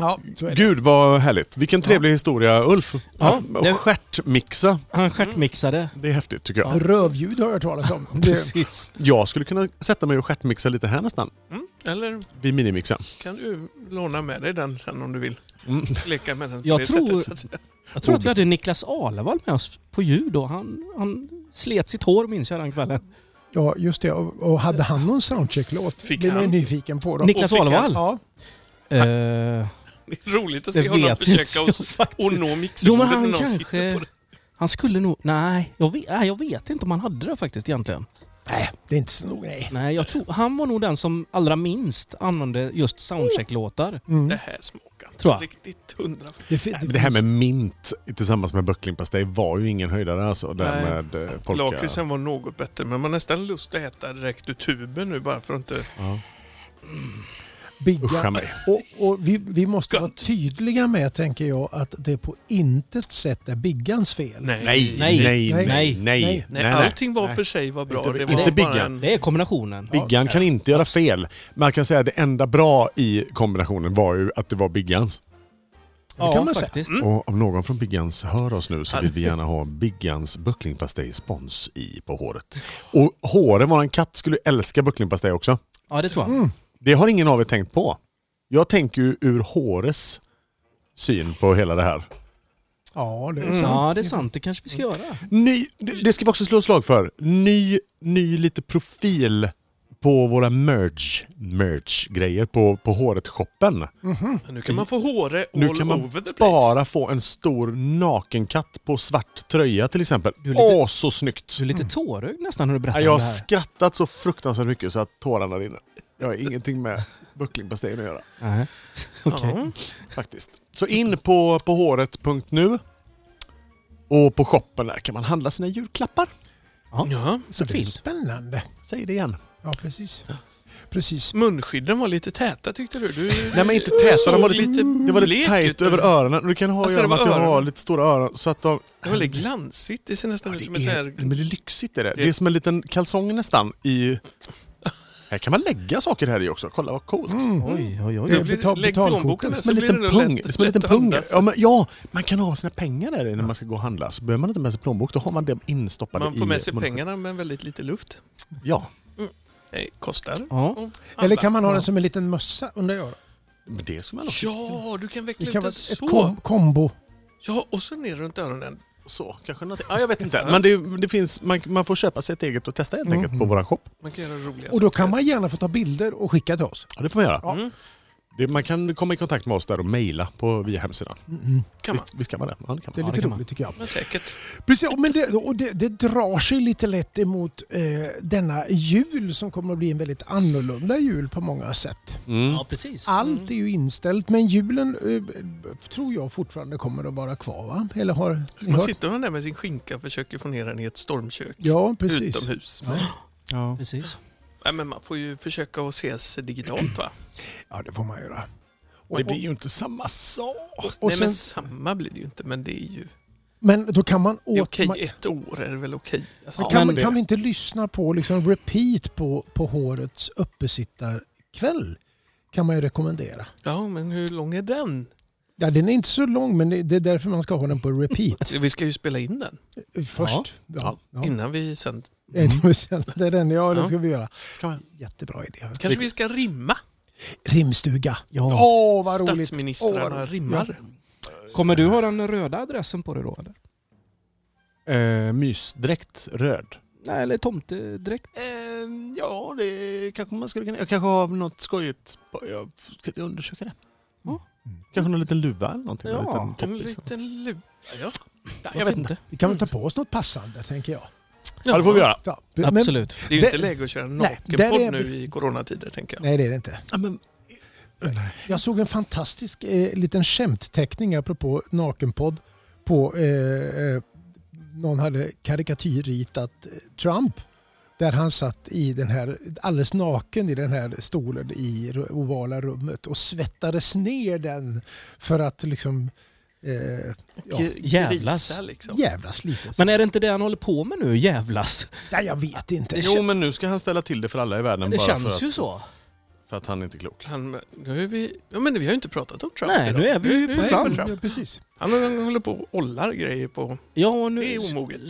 [SPEAKER 4] Ja, så är det.
[SPEAKER 3] Gud vad härligt. Vilken trevlig historia Ulf.
[SPEAKER 2] Ja,
[SPEAKER 3] Att
[SPEAKER 2] det-
[SPEAKER 3] Stjärtmixa,
[SPEAKER 2] Han stjärtmixade.
[SPEAKER 3] det är häftigt tycker jag.
[SPEAKER 4] Rövljud har jag hört talas om. Det,
[SPEAKER 2] Precis.
[SPEAKER 3] Jag skulle kunna sätta mig och stjärtmixa lite här nästan.
[SPEAKER 1] Mm, Eller
[SPEAKER 3] Vid minimixen.
[SPEAKER 1] kan du låna med dig den sen om du vill? Leka med den
[SPEAKER 2] Mm.
[SPEAKER 1] på
[SPEAKER 2] Jag
[SPEAKER 1] det
[SPEAKER 2] tror-
[SPEAKER 1] sättet. Så att säga.
[SPEAKER 2] Jag tror att vi hade Niklas Alevall med oss på ljud då. Han, han slet sitt hår minns jag den kvällen.
[SPEAKER 4] ja, just det. Och, och hade han någon soundcheck-låt?
[SPEAKER 1] Fick
[SPEAKER 4] Blir ni
[SPEAKER 1] han?
[SPEAKER 4] nyfiken på då?
[SPEAKER 2] Niklas
[SPEAKER 1] Och fick
[SPEAKER 2] Alevall?
[SPEAKER 4] Ja.
[SPEAKER 2] Eh,
[SPEAKER 1] Det är roligt att
[SPEAKER 2] Jag
[SPEAKER 1] se honom
[SPEAKER 2] vet inte,
[SPEAKER 1] försöka och,
[SPEAKER 2] faktiskt.
[SPEAKER 1] och nå
[SPEAKER 2] jo men
[SPEAKER 1] mixerbordet när
[SPEAKER 2] han
[SPEAKER 1] någon sitter på
[SPEAKER 2] kanske...
[SPEAKER 1] det.
[SPEAKER 2] Han skulle nog... Nej jag, vet, nej, jag vet inte om han hade det faktiskt egentligen.
[SPEAKER 4] Nej, det är inte så nog. Nej.
[SPEAKER 2] Nej, jag tror... Han var nog den som allra minst använde just soundcheck-låtar.
[SPEAKER 1] Det här smakar inte
[SPEAKER 2] Mm. Tror jag.
[SPEAKER 1] riktigt hundra.
[SPEAKER 4] Det, fi-
[SPEAKER 3] Det här med mint tillsammans med böcklingpastej var ju ingen höjdare alltså. Det här
[SPEAKER 1] Nej.
[SPEAKER 3] med eh, polka.
[SPEAKER 1] Lakritsen var något bättre, men man har nästan lust att äta direkt ur tuben nu bara för att inte...
[SPEAKER 3] Uscha
[SPEAKER 4] Bigga.
[SPEAKER 3] mig.
[SPEAKER 4] Och, och vi, vi måste
[SPEAKER 1] Gött.
[SPEAKER 4] vara tydliga med, tänker jag, att det på intet sätt är Biggans fel.
[SPEAKER 1] Nej.
[SPEAKER 3] Nej,
[SPEAKER 2] Nej,
[SPEAKER 3] nej, nej,
[SPEAKER 4] nej,
[SPEAKER 3] nej.
[SPEAKER 4] nej.
[SPEAKER 3] nej,
[SPEAKER 1] Nej,
[SPEAKER 3] nej.
[SPEAKER 1] allting var för sig var bra.
[SPEAKER 3] Inte-
[SPEAKER 1] det var
[SPEAKER 3] inte
[SPEAKER 1] bara
[SPEAKER 3] Bigga.
[SPEAKER 1] en...
[SPEAKER 2] Det är kombinationen.
[SPEAKER 3] Biggan kan inte göra fel. Man kan säga att det enda bra i kombinationen var ju att det var Biggans.
[SPEAKER 2] Ja,
[SPEAKER 4] kan man säga.
[SPEAKER 2] faktiskt.
[SPEAKER 3] Och om någon från Biggans hör oss nu så
[SPEAKER 1] Ja.
[SPEAKER 3] vill vi gärna ha Biggans böcklingpastej-spons i på håret. Och håret, våran katt skulle älska böcklingpastej också.
[SPEAKER 2] Ja, det tror jag.
[SPEAKER 3] Det har ingen av er tänkt på. Jag tänker ju ur hårets syn på hela det här.
[SPEAKER 4] Ja, det är
[SPEAKER 3] Mm.
[SPEAKER 4] sant.
[SPEAKER 2] Ja, det är sant. Det kanske vi ska göra.
[SPEAKER 3] Ny, det det ska vi också slå ett slag för. Ny, ny lite profil på våra merch, merch-grejer på, på håret-shoppen.
[SPEAKER 1] Men nu kan man få håre all
[SPEAKER 3] Nu kan man
[SPEAKER 1] over the place.
[SPEAKER 3] bara få en stor nakenkatt på svart tröja till exempel.
[SPEAKER 2] Du är lite-
[SPEAKER 3] Åh, så snyggt!
[SPEAKER 2] Du är lite tårögd nästan när du berättar
[SPEAKER 3] Jag har
[SPEAKER 2] om det här.
[SPEAKER 3] skrattat så fruktansvärt mycket så att tårarna rinner. Jag har ingenting med böcklingpastejen att göra
[SPEAKER 2] Nej. Okej.
[SPEAKER 1] Ja.
[SPEAKER 3] faktiskt. Så in på, på håret.nu och på shoppen där kan man handla sina julklappar.
[SPEAKER 1] Ja.
[SPEAKER 2] Så fint.
[SPEAKER 4] Spännande.
[SPEAKER 3] Säg det igen.
[SPEAKER 4] Ja, precis. Precis.
[SPEAKER 1] Munskydden var lite täta tyckte du. du
[SPEAKER 3] Nej men inte
[SPEAKER 1] såg
[SPEAKER 3] täta, de var
[SPEAKER 1] lite
[SPEAKER 3] lite, det var
[SPEAKER 1] blek
[SPEAKER 3] lite
[SPEAKER 1] ut.
[SPEAKER 3] tajt över öronen. Du kan ha
[SPEAKER 1] Alltså,
[SPEAKER 3] att göra
[SPEAKER 1] det
[SPEAKER 3] med
[SPEAKER 1] var
[SPEAKER 3] att jag har
[SPEAKER 1] öronen.
[SPEAKER 3] lite stora öron. Så att de,
[SPEAKER 1] Det var väldigt glansigt. Det ser nästan ut som ett
[SPEAKER 3] det är, men
[SPEAKER 1] här...
[SPEAKER 3] det är lyxigt är det.
[SPEAKER 1] Det-
[SPEAKER 3] Det är som en liten kalsong nästan i... Här kan man lägga saker här i också. Kolla vad coolt.
[SPEAKER 2] Oj, oj, oj.
[SPEAKER 1] Det
[SPEAKER 4] Det
[SPEAKER 1] blir-
[SPEAKER 4] betal-
[SPEAKER 1] lägg
[SPEAKER 4] betalkorten.
[SPEAKER 1] plånboken där
[SPEAKER 3] Som en
[SPEAKER 1] Mm. så blir det
[SPEAKER 3] liten
[SPEAKER 1] nog
[SPEAKER 3] pung.
[SPEAKER 1] lätt-
[SPEAKER 3] som en liten
[SPEAKER 1] lätt
[SPEAKER 3] pung.
[SPEAKER 1] andas.
[SPEAKER 3] Ja, men, ja, man kan ha sina pengar där i när man ska gå och handla. Så behöver man inte med sig plånbok. Då har man dem instoppade
[SPEAKER 1] Man får
[SPEAKER 3] i
[SPEAKER 1] med sig
[SPEAKER 3] munnen.
[SPEAKER 1] pengarna men väldigt lite luft.
[SPEAKER 3] Ja.
[SPEAKER 1] Det kostar.
[SPEAKER 2] Ja.
[SPEAKER 1] Och
[SPEAKER 4] Eller
[SPEAKER 1] handla.
[SPEAKER 4] kan man ha den som en liten mössa under örat?
[SPEAKER 3] Men det ska man också.
[SPEAKER 1] Ja, du kan
[SPEAKER 4] Det
[SPEAKER 1] veckla
[SPEAKER 4] kan
[SPEAKER 1] ut
[SPEAKER 4] vara
[SPEAKER 1] den
[SPEAKER 4] ett
[SPEAKER 1] så.
[SPEAKER 4] kom- kombo.
[SPEAKER 1] Ja, och så ner runt öronen.
[SPEAKER 3] Så, kanske något. Ja, jag vet inte. Men det, det finns, man, man får köpa sig ett eget och testa helt enkelt
[SPEAKER 1] Mm.
[SPEAKER 3] på vår shop.
[SPEAKER 1] Man kan göra roliga
[SPEAKER 4] Och då
[SPEAKER 1] saker.
[SPEAKER 4] kan man gärna få ta bilder och skicka till oss.
[SPEAKER 3] Ja, det får man göra.
[SPEAKER 1] Mm,
[SPEAKER 3] Det, man kan komma i kontakt med oss där och mejla på- via hemsidan.
[SPEAKER 1] kan man.
[SPEAKER 3] Visst, visst kan man det? Ja, det kan
[SPEAKER 4] Det är
[SPEAKER 3] man.
[SPEAKER 4] lite
[SPEAKER 2] kan man.
[SPEAKER 4] roligt tycker jag.
[SPEAKER 1] Men säkert.
[SPEAKER 4] Precis, men det, och det, det drar sig lite lätt emot eh, denna jul som kommer att bli en väldigt annorlunda jul på många sätt.
[SPEAKER 3] Mm.
[SPEAKER 2] ja, precis.
[SPEAKER 4] Allt är ju inställt men julen eh, tror jag fortfarande kommer att vara kvar va? Eller har ni
[SPEAKER 1] Man
[SPEAKER 4] hört?
[SPEAKER 1] sitter man där med sin skinka och försöker få ner den i ett stormkök.
[SPEAKER 4] Ja, precis.
[SPEAKER 1] Utomhus.
[SPEAKER 4] Ja.
[SPEAKER 3] Ja.
[SPEAKER 2] Precis.
[SPEAKER 1] Nej, men man får ju försöka att ses digitalt va?
[SPEAKER 4] Ja, det får man göra. Och,
[SPEAKER 3] Det
[SPEAKER 4] och,
[SPEAKER 3] blir ju inte samma sak.
[SPEAKER 4] och
[SPEAKER 1] Nej,
[SPEAKER 4] sen,
[SPEAKER 1] men samma blir det ju inte. Men det är ju
[SPEAKER 4] men då kan man...
[SPEAKER 1] det är
[SPEAKER 4] åt-
[SPEAKER 1] okej.
[SPEAKER 4] man-
[SPEAKER 1] Ett år är det väl okej. Alltså,
[SPEAKER 4] Men kan,
[SPEAKER 2] men
[SPEAKER 4] vi- kan vi inte lyssna på liksom repeat på, på hårets uppesittarkväll? Kan man ju rekommendera.
[SPEAKER 1] Ja, men hur lång är den?
[SPEAKER 4] Ja, den är inte så lång men det det är därför man ska ha den på repeat
[SPEAKER 1] Vi ska ju spela in den
[SPEAKER 4] först. Ja. Ja.
[SPEAKER 1] innan vi sen.
[SPEAKER 4] Mm. Sen, det är den, ja, det
[SPEAKER 1] Ja.
[SPEAKER 4] ska vi göra.
[SPEAKER 3] Kan man-
[SPEAKER 4] Jättebra idé.
[SPEAKER 1] Kanske vi ska rimma.
[SPEAKER 4] Rimstuga.
[SPEAKER 2] Ja.
[SPEAKER 4] Åh, vad roligt. Åh, vad
[SPEAKER 1] Statsministrarna
[SPEAKER 4] roligt.
[SPEAKER 1] rimmar.
[SPEAKER 2] Kommer du ha den röda adressen på dig då? Eller?
[SPEAKER 3] Eh, mysdräkt röd.
[SPEAKER 2] Nej, eller tomtedräkt?
[SPEAKER 3] Eh, ja, det kanske man skulle kunna... Jag kanske har något skojigt. på- Jag ska undersöka det.
[SPEAKER 2] Ja.
[SPEAKER 3] Kanske någon liten luva eller någonting.
[SPEAKER 2] Ja.
[SPEAKER 3] en liten topp,
[SPEAKER 1] En
[SPEAKER 3] liksom.
[SPEAKER 1] liten luva. Ja.
[SPEAKER 3] Ja, jag vet inte.
[SPEAKER 4] Vi kan väl ta på oss något passande, tänker jag.
[SPEAKER 3] Ja, det får vi göra.
[SPEAKER 4] Ja. men-
[SPEAKER 2] Absolut.
[SPEAKER 1] Det är ju
[SPEAKER 4] Det-
[SPEAKER 1] inte läge att köra en
[SPEAKER 4] Nej, där är-
[SPEAKER 1] nakenpodd nu i coronatider tänker jag.
[SPEAKER 4] Nej, det är det inte.
[SPEAKER 3] Ja, men,
[SPEAKER 4] Jag såg en fantastisk eh, liten skämtteckning apropå nakenpodd på eh, eh, någon hade karikatyrritat eh, Trump där han satt i den här, alldeles naken i den här stolen i ru- ovala rummet och svettades ner den för att liksom eh, ja,
[SPEAKER 1] Ge-
[SPEAKER 2] Jävlas.
[SPEAKER 1] grisa, Liksom.
[SPEAKER 4] jävlas lite.
[SPEAKER 2] Men är det inte det han håller på med nu, jävlas?
[SPEAKER 4] Nej, jag vet inte.
[SPEAKER 3] jo, men nu ska han ställa till det för alla i världen
[SPEAKER 2] Det
[SPEAKER 3] bara för
[SPEAKER 2] känns
[SPEAKER 3] att,
[SPEAKER 2] ju så.
[SPEAKER 3] för att han inte är klok.
[SPEAKER 1] Han, nu är vi, ja, men vi har ju inte pratat om Trump
[SPEAKER 2] Nej,
[SPEAKER 1] idag.
[SPEAKER 2] nu är vi ju
[SPEAKER 1] Nu-
[SPEAKER 2] på
[SPEAKER 1] nu är vi
[SPEAKER 2] Trump.
[SPEAKER 4] Ja, precis.
[SPEAKER 1] Han, han håller på och ollar grejer på...
[SPEAKER 2] Ja, och nu...
[SPEAKER 1] Det är omoget.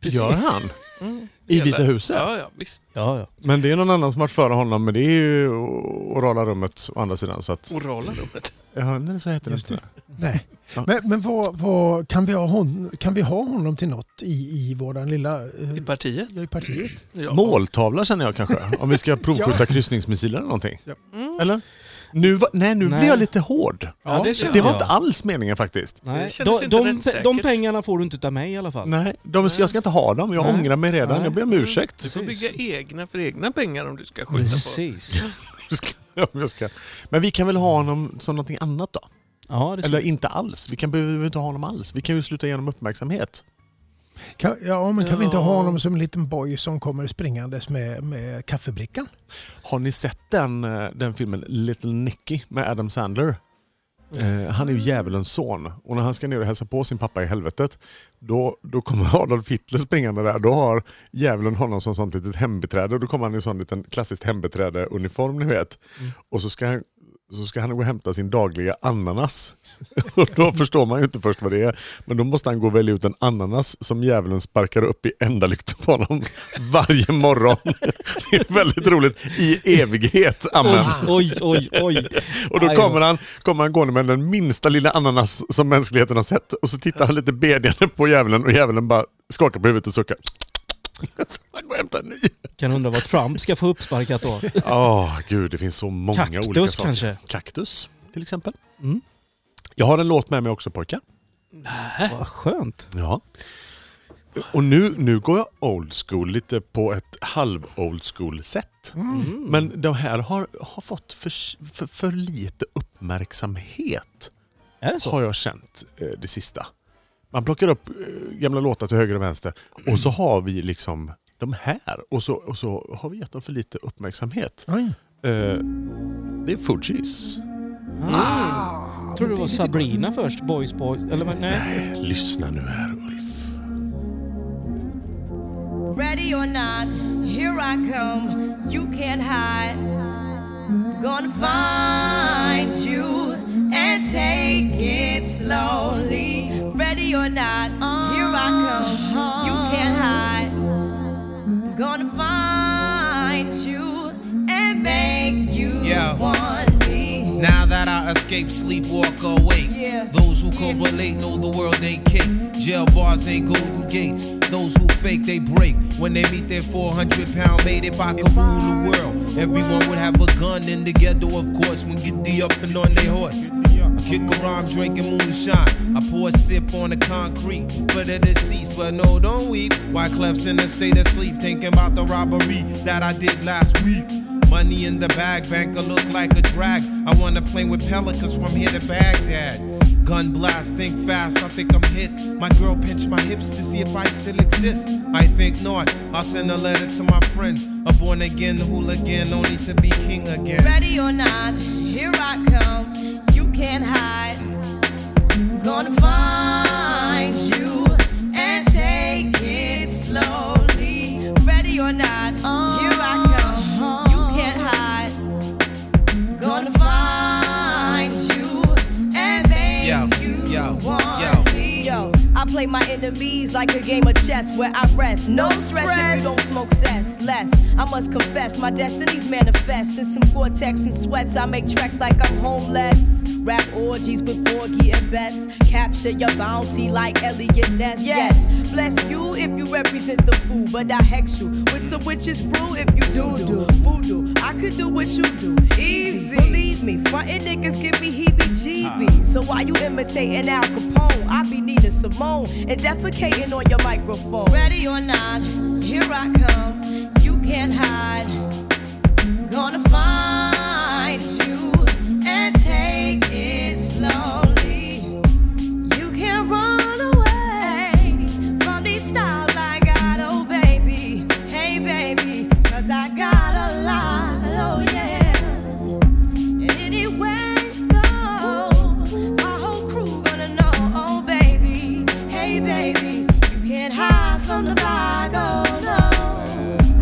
[SPEAKER 2] Precis.
[SPEAKER 3] Gör
[SPEAKER 2] Ja,
[SPEAKER 3] han? I Vita huset?
[SPEAKER 1] Ja, ja, visst.
[SPEAKER 2] ja.
[SPEAKER 3] Men det är någon annan som varit före honom, men det är ju orala rummet å andra sidan. Så att,
[SPEAKER 1] Orala rummet.
[SPEAKER 3] ja, nej, så heter det
[SPEAKER 4] Just
[SPEAKER 3] inte.
[SPEAKER 4] Nej.
[SPEAKER 3] Ja.
[SPEAKER 4] Men, men vad, vad, kan, vi ha hon, kan vi ha honom till något i, i vår lilla... Eh,
[SPEAKER 1] I partiet.
[SPEAKER 4] i partiet?
[SPEAKER 1] Ja.
[SPEAKER 3] Måltavla känner jag kanske. Om vi ska provskjuta kryssningsmissiler eller någonting. Eller? Nu, va- nej, nu
[SPEAKER 2] Nej.
[SPEAKER 3] blir jag lite hård.
[SPEAKER 1] Ja, det känner
[SPEAKER 3] Det var
[SPEAKER 1] jag.
[SPEAKER 3] inte alls meningen faktiskt.
[SPEAKER 2] Nej.
[SPEAKER 1] Det kändes
[SPEAKER 2] de,
[SPEAKER 1] inte
[SPEAKER 2] de,
[SPEAKER 1] rättssäkert.
[SPEAKER 2] de pengarna får du inte utav mig i alla fall.
[SPEAKER 3] Nej, de, jag ska inte ha dem. Jag
[SPEAKER 2] Nej.
[SPEAKER 3] ångrar mig redan.
[SPEAKER 2] Nej.
[SPEAKER 3] Jag ber om ursäkt.
[SPEAKER 1] Du får bygga egna för egna pengar om du ska skjuta på.
[SPEAKER 2] Precis.
[SPEAKER 3] Jag ska- jag ska. Men vi kan väl ha honom som någonting annat då?
[SPEAKER 2] Ja, det
[SPEAKER 3] Eller inte alls. Vi kan behöver inte ha honom alls. Vi kan ju sluta genom uppmärksamhet.
[SPEAKER 4] Kan, ja, men kan vi inte
[SPEAKER 1] Ja.
[SPEAKER 4] ha honom som en liten boy som kommer springandes med, med kaffebrickan?
[SPEAKER 3] Har ni sett den, eh, den filmen Little Nicky med Adam Sandler? Eh, han är ju djävulens son och när han ska ner och hälsa på sin pappa i helvetet då, då kommer Adolf Hitler springande där. Då har djävulen honom som sånt litet hembiträde. Då kommer han i sån liten klassiskt hembiträdeuniform ni vet. Och så ska, han, så ska han gå och hämta sin dagliga ananas. och då förstår man ju inte först vad det är. Men då måste han gå och välja ut en ananas som djävulen sparkar upp i ändalykten på honom varje morgon. det är väldigt roligt. I evighet. Amen.
[SPEAKER 2] Oj, oj, oj.
[SPEAKER 3] Och då
[SPEAKER 2] Aj,
[SPEAKER 3] kommer han, kommer han gående med den minsta lilla ananas som mänskligheten har sett och så tittar han lite bedjande på djävulen och djävulen bara skakar på huvudet och suckar. Så man går och hämtar en ny.
[SPEAKER 2] Kan undra vad Trump ska få uppsparkat då.
[SPEAKER 3] Åh, gud, det finns så många
[SPEAKER 2] Kaktus
[SPEAKER 3] olika saker.
[SPEAKER 2] kanske?
[SPEAKER 3] Kaktus, till exempel.
[SPEAKER 2] Mm.
[SPEAKER 3] Jag har en låt med mig också pojkar.
[SPEAKER 1] Äh?
[SPEAKER 2] Vad skönt.
[SPEAKER 3] Ja. Och nu, nu går jag old school, lite på ett halv old school sätt.
[SPEAKER 2] Mm.
[SPEAKER 3] Men de här har, har fått för, för, för lite uppmärksamhet,
[SPEAKER 2] Är det så?
[SPEAKER 3] har jag känt eh, det sista. Man plockar upp eh, gamla låtar till höger och vänster och så har vi liksom de här och så, och så har vi gett dem för lite uppmärksamhet.
[SPEAKER 4] Oj.
[SPEAKER 3] Eh, det är Fugees.
[SPEAKER 2] Jag Mm. tror det var Sabrina först, Boys Boys. Eller vad- nej.
[SPEAKER 3] Eh, Lyssna nu här Ulf.
[SPEAKER 9] Ready or not, here I come. You can't hide. Gonna find you and take it slowly. Ready or not, here I come. You can't hide. Gonna find you and make you
[SPEAKER 6] Yo.
[SPEAKER 9] want me.
[SPEAKER 6] Now that I escape, sleep, walk awake.
[SPEAKER 9] Yeah.
[SPEAKER 6] Those who correlate know the world ain't kick. Jail bars ain't golden gates. Those who fake, they break. When they meet their 400 pound mate, if I could rule the world, everyone would have a gun in the ghetto, of course. When get the up and on their horse. Kick around drinking moonshine. I pour a sip on the concrete for the deceased, but no, don't weep. Why Clef's in a state of sleep, thinking about the robbery that I did last week. Money in the bag, banker look like a drag. I wanna play with pelicans from here to Baghdad. Gun blast, think fast, I think I'm hit. My girl pinched my hips to see if I still exist. I think not. I'll send a letter to my friends. A born again hooligan, only to be king again.
[SPEAKER 9] Ready or not, here I come. You can't hide. Gonna find you and take it slowly. Ready or not, here I come. You can't hide. Gonna find you and make
[SPEAKER 6] Yo,
[SPEAKER 9] you
[SPEAKER 6] yo,
[SPEAKER 9] want
[SPEAKER 6] yo.
[SPEAKER 9] me. Yo, I play my enemies like a game of chess where I rest. No stress if you don't smoke cess. Less, I must confess, my destinies manifest. In some cortex and sweats, I make tracks like I'm homeless. Rap orgies with Borgie and Bess. Capture your bounty like Elliot Ness. Yes, bless you if you represent the fool, but I hex you with some witches brew if you do do voodoo. I could do what you do, easy. Believe me, frontin' niggas give me heebie-jeebies. So why you imitating Al Capone? I be needing Simone and defecating on your microphone. Ready or not, here I come. You can't hide. Gonna find you and take it slowly. You can run away from these styles I got, oh baby. Hey baby, cause I got a lot, oh yeah. And anywhere you go, my whole crew gonna know, oh baby. Hey baby, you can't hide from the bag, oh no.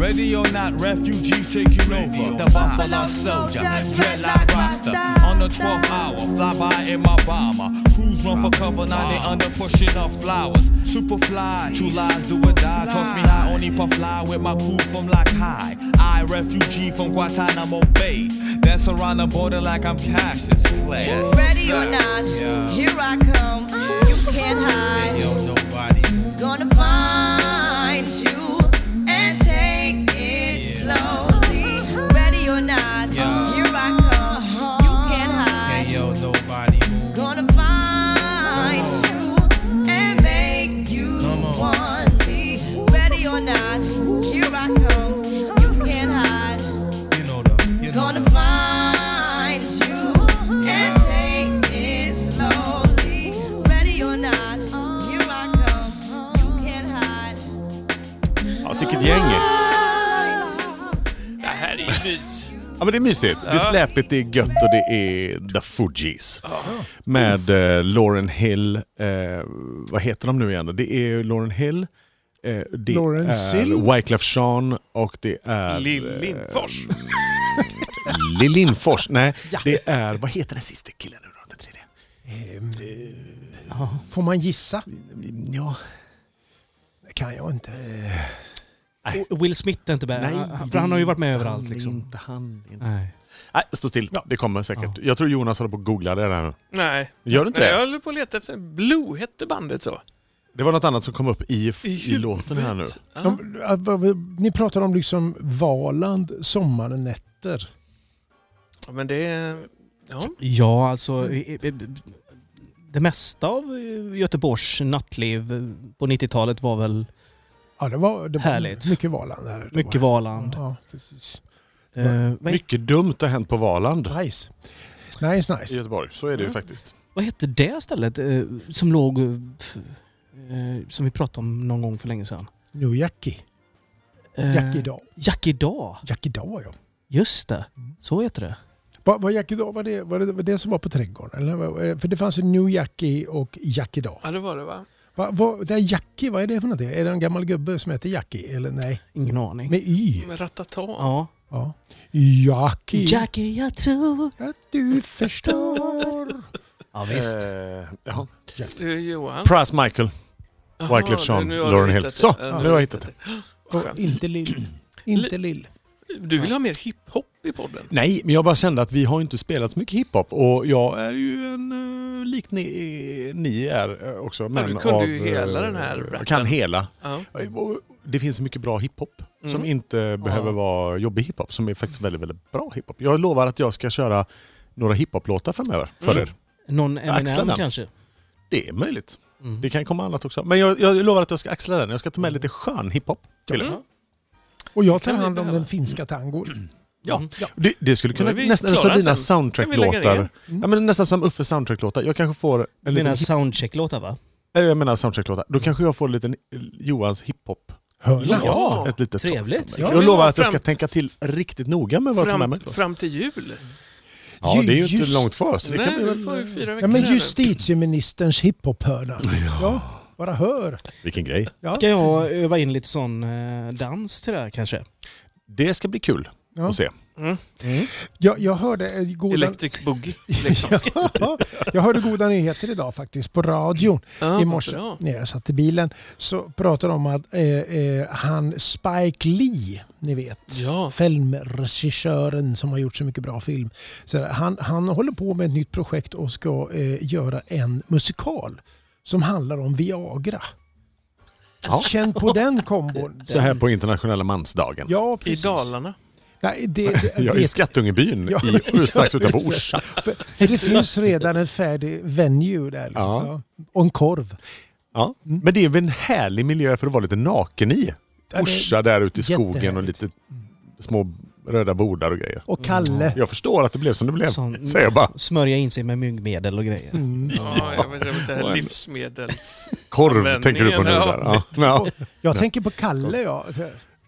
[SPEAKER 8] Ready or not, refugees taking over. The Buffalo Soldier, dreadlock roster. On the 12th hour, fly by in my bomber. Crews run for cover, now they under pushing up flowers. Superfly, true lies do or die. Toss me high, only puff fly with my crew from Lock High. I, refugee from Guantanamo Bay. Dance around the border like I'm Cassius Clay.
[SPEAKER 9] Ready or not, here I come. You can't hide.
[SPEAKER 6] Yo, nobody move.
[SPEAKER 9] Gonna find you and take it slowly. Ready or not,
[SPEAKER 6] Yeah.
[SPEAKER 9] here I come. You can't hide.
[SPEAKER 6] Yo, nobody move.
[SPEAKER 9] Gonna find you and make you
[SPEAKER 6] Come on.
[SPEAKER 9] want me. Ready or not, here I come. You can't hide.
[SPEAKER 6] You know the, you know
[SPEAKER 9] Gonna
[SPEAKER 6] the.
[SPEAKER 9] find you and take it slowly. Ready or not, here I come. You can't hide.
[SPEAKER 3] Ja, vilket gäng!
[SPEAKER 1] Det här är ju mys.
[SPEAKER 3] Ja, men det är mysigt. Det är släpigt, det är gött och det är The Fugees. Med eh, Lauren Hill. Eh, vad heter de nu igen då? Det är Lauren Hill. Eh, det
[SPEAKER 4] Lauryn
[SPEAKER 3] är
[SPEAKER 4] Hill?
[SPEAKER 3] Wyclef Jean och det är...
[SPEAKER 1] Lill Lindfors.
[SPEAKER 3] Lill Lindfors. Nej, det är... Vad heter den sista killen nu då? Den tredje?
[SPEAKER 4] Får man gissa?
[SPEAKER 3] Ja.
[SPEAKER 4] Det kan jag inte.
[SPEAKER 2] Will Smith är inte med. Han- för han har ju varit med överallt liksom.
[SPEAKER 3] Inte han. Inte.
[SPEAKER 2] Nej.
[SPEAKER 3] Nej, stå still. Det kommer säkert. Jag tror Jonas håller på att googla det där nu.
[SPEAKER 1] Nej.
[SPEAKER 3] Gör du inte
[SPEAKER 1] Nej, jag
[SPEAKER 3] det?
[SPEAKER 1] håller på att leta efter... Blue hette bandet så.
[SPEAKER 3] Det var något annat som kom upp i, i,
[SPEAKER 1] huvudet.
[SPEAKER 3] låten här nu.
[SPEAKER 1] Ja.
[SPEAKER 4] De, ah, vad- vad- ni pratar om liksom Valand, sommarnätter.
[SPEAKER 1] Ja, men det är... Ja.
[SPEAKER 2] Ja, alltså... eh, eh, Det mesta av eh, Göteborgs nattliv eh, på 90-talet var väl
[SPEAKER 4] Ja, det var, det var
[SPEAKER 2] Härligt.
[SPEAKER 4] mycket Valand. Här. Det
[SPEAKER 2] mycket
[SPEAKER 4] var-
[SPEAKER 2] Valand.
[SPEAKER 4] Ja, precis.
[SPEAKER 2] Eh, vad, he-
[SPEAKER 3] Mycket dumt har hänt på Valand
[SPEAKER 4] Nice. Nice,
[SPEAKER 3] i
[SPEAKER 4] nice.
[SPEAKER 3] Göteborg. Så är
[SPEAKER 1] Mm.
[SPEAKER 3] det ju faktiskt.
[SPEAKER 2] vad hette det stället eh, som låg... eh, eh, som vi pratade om någon gång för länge sedan?
[SPEAKER 4] New Jackie.
[SPEAKER 2] Eh,
[SPEAKER 4] Jackie Daw.
[SPEAKER 2] Jackie Daw.
[SPEAKER 4] Jackie Daw, ja.
[SPEAKER 2] Just det.
[SPEAKER 4] Mm.
[SPEAKER 2] Så heter det.
[SPEAKER 4] Var, var Jackie Daw var det, var, det, var det som var på trädgården? Eller, vad- eh, för det fanns ju New Jackie och Jackie Daw.
[SPEAKER 1] ja, det var det va?
[SPEAKER 4] Va, va, det är Jackie, vad är det för någonting? Är det en gammal gubbe som heter Jackie? Eller nej,
[SPEAKER 2] Ingen aning.
[SPEAKER 4] med Y.
[SPEAKER 1] Med ratata.
[SPEAKER 2] ja.
[SPEAKER 4] Ja. Jackie.
[SPEAKER 2] Jackie, jag tror...
[SPEAKER 4] Att du förstår.
[SPEAKER 2] Ja,
[SPEAKER 3] Eh, ja.
[SPEAKER 1] Du Johan.
[SPEAKER 3] Price Michael,
[SPEAKER 1] Jaha,
[SPEAKER 3] Wyclef Jean,
[SPEAKER 1] nu- nu har
[SPEAKER 3] Lauren
[SPEAKER 1] du
[SPEAKER 3] Hill.
[SPEAKER 1] hittat
[SPEAKER 3] Så,
[SPEAKER 1] det. Ja,
[SPEAKER 3] nu har jag hittat det.
[SPEAKER 4] Och inte Lill. Inte Lill.
[SPEAKER 1] Du vill ha mer hiphop i podden?
[SPEAKER 3] Nej, men jag bara kände att vi har inte spelat så mycket hiphop och jag är ju en eh, lik ni, ni är eh, också. Men
[SPEAKER 1] du kunde
[SPEAKER 3] av,
[SPEAKER 1] ju hela
[SPEAKER 3] eh,
[SPEAKER 1] den här rappen.
[SPEAKER 3] Kan hela.
[SPEAKER 1] Ja.
[SPEAKER 3] Och Det finns så mycket bra hiphop
[SPEAKER 1] Mm.
[SPEAKER 3] som inte behöver vara jobbig hiphop, som är faktiskt väldigt, väldigt bra hiphop. Jag lovar att jag ska köra några hiphop-låtar framöver för
[SPEAKER 1] Mm.
[SPEAKER 3] er.
[SPEAKER 2] Någon
[SPEAKER 3] Axla
[SPEAKER 2] Eminem
[SPEAKER 3] den.
[SPEAKER 2] kanske? Mm.
[SPEAKER 3] Det är möjligt. Det kan komma annat också. Men jag, jag lovar att jag ska axla den. Jag ska ta med lite skön hiphop till er.
[SPEAKER 1] Mm.
[SPEAKER 4] Och jag tar
[SPEAKER 1] kan vi
[SPEAKER 4] hand om
[SPEAKER 1] behöva.
[SPEAKER 4] den finska
[SPEAKER 1] Mm.
[SPEAKER 4] tangon.
[SPEAKER 3] Ja. Det, det skulle kunna
[SPEAKER 1] är vi
[SPEAKER 3] nästan
[SPEAKER 1] klara
[SPEAKER 3] som dina
[SPEAKER 1] sen. Kan vi lägga
[SPEAKER 3] soundtrack-låtar.
[SPEAKER 1] ner? Mm.
[SPEAKER 3] Ja, men nästan som Uffes soundtrack-låtar. Jag kanske får en liten
[SPEAKER 2] Mina
[SPEAKER 3] hip,
[SPEAKER 2] soundcheck-låtar va?
[SPEAKER 3] äh, jag menar soundtrack-låtar. Då kanske jag får en liten eh, Johans hiphop.
[SPEAKER 4] Hörna.
[SPEAKER 1] Ja.
[SPEAKER 3] Ett litet tag.
[SPEAKER 2] Trevligt.
[SPEAKER 1] Ja,
[SPEAKER 3] jag
[SPEAKER 1] vi
[SPEAKER 3] lovar
[SPEAKER 1] har
[SPEAKER 3] att jag ska
[SPEAKER 1] fram-
[SPEAKER 3] tänka till riktigt noga med vad jag tar med
[SPEAKER 1] Fram,
[SPEAKER 3] mig.
[SPEAKER 1] fram till jul?
[SPEAKER 3] Ja, det är ju inte
[SPEAKER 4] Just-
[SPEAKER 3] långt kvar. Så det kan
[SPEAKER 1] Nej,
[SPEAKER 3] bli
[SPEAKER 1] du
[SPEAKER 3] väl...
[SPEAKER 1] får ju fyra veckor
[SPEAKER 4] Ja, men
[SPEAKER 1] här nu.
[SPEAKER 4] justitieministerns hiphop-hörna. Ja, bara hör.
[SPEAKER 3] Vilken grej.
[SPEAKER 4] Ja.
[SPEAKER 2] Ska jag öva in lite sån eh, dans till det här kanske?
[SPEAKER 3] Det ska bli kul
[SPEAKER 4] Ja.
[SPEAKER 3] att se.
[SPEAKER 4] Mm. Jag, jag hörde eh, goda...
[SPEAKER 1] Electric Boogie. Liksom.
[SPEAKER 4] Ja, jag hörde goda nyheter idag faktiskt på radion
[SPEAKER 1] Ja,
[SPEAKER 4] i morse
[SPEAKER 1] vad bra.
[SPEAKER 4] när jag satt i bilen. Så pratade de om att eh, eh, han Spike Lee, ni vet,
[SPEAKER 1] Ja,
[SPEAKER 4] filmregissören som har gjort så mycket bra film. Så där, han, han håller på med ett nytt projekt och ska eh, göra en musikal som handlar om Viagra.
[SPEAKER 3] Ja.
[SPEAKER 4] Känn på den kombon.
[SPEAKER 3] Så här på internationella mansdagen.
[SPEAKER 4] Ja,
[SPEAKER 1] i
[SPEAKER 4] precis.
[SPEAKER 1] Dalarna.
[SPEAKER 4] Nej, det, det,
[SPEAKER 3] Jag är i
[SPEAKER 4] vet-
[SPEAKER 3] Skattungebyn
[SPEAKER 4] Ja,
[SPEAKER 3] i, strax utanför
[SPEAKER 4] just det.
[SPEAKER 3] Orsa.
[SPEAKER 4] För, för det finns redan en färdig venue där. Liksom,
[SPEAKER 3] Ja.
[SPEAKER 4] ja. Och en korv.
[SPEAKER 3] Ja. Men det är väl en härlig miljö för att vara lite naken i.
[SPEAKER 4] det är
[SPEAKER 3] Orsa där ute i skogen och
[SPEAKER 4] jättehärligt.
[SPEAKER 3] lite små röda bordar och grejer.
[SPEAKER 4] Och Kalle.
[SPEAKER 3] Jag förstår att det blev som det blev,
[SPEAKER 2] Sån-
[SPEAKER 3] säger jag bara.
[SPEAKER 2] Smörja in sig med myggmedel och grejer.
[SPEAKER 1] Ja, jag vet inte. det
[SPEAKER 3] Och
[SPEAKER 1] här
[SPEAKER 3] en-
[SPEAKER 1] Livsmedels...
[SPEAKER 3] Korv tänker du på nu
[SPEAKER 1] Användningen,
[SPEAKER 3] där. Ja. Ja.
[SPEAKER 4] Jag tänker på Kalle, ja.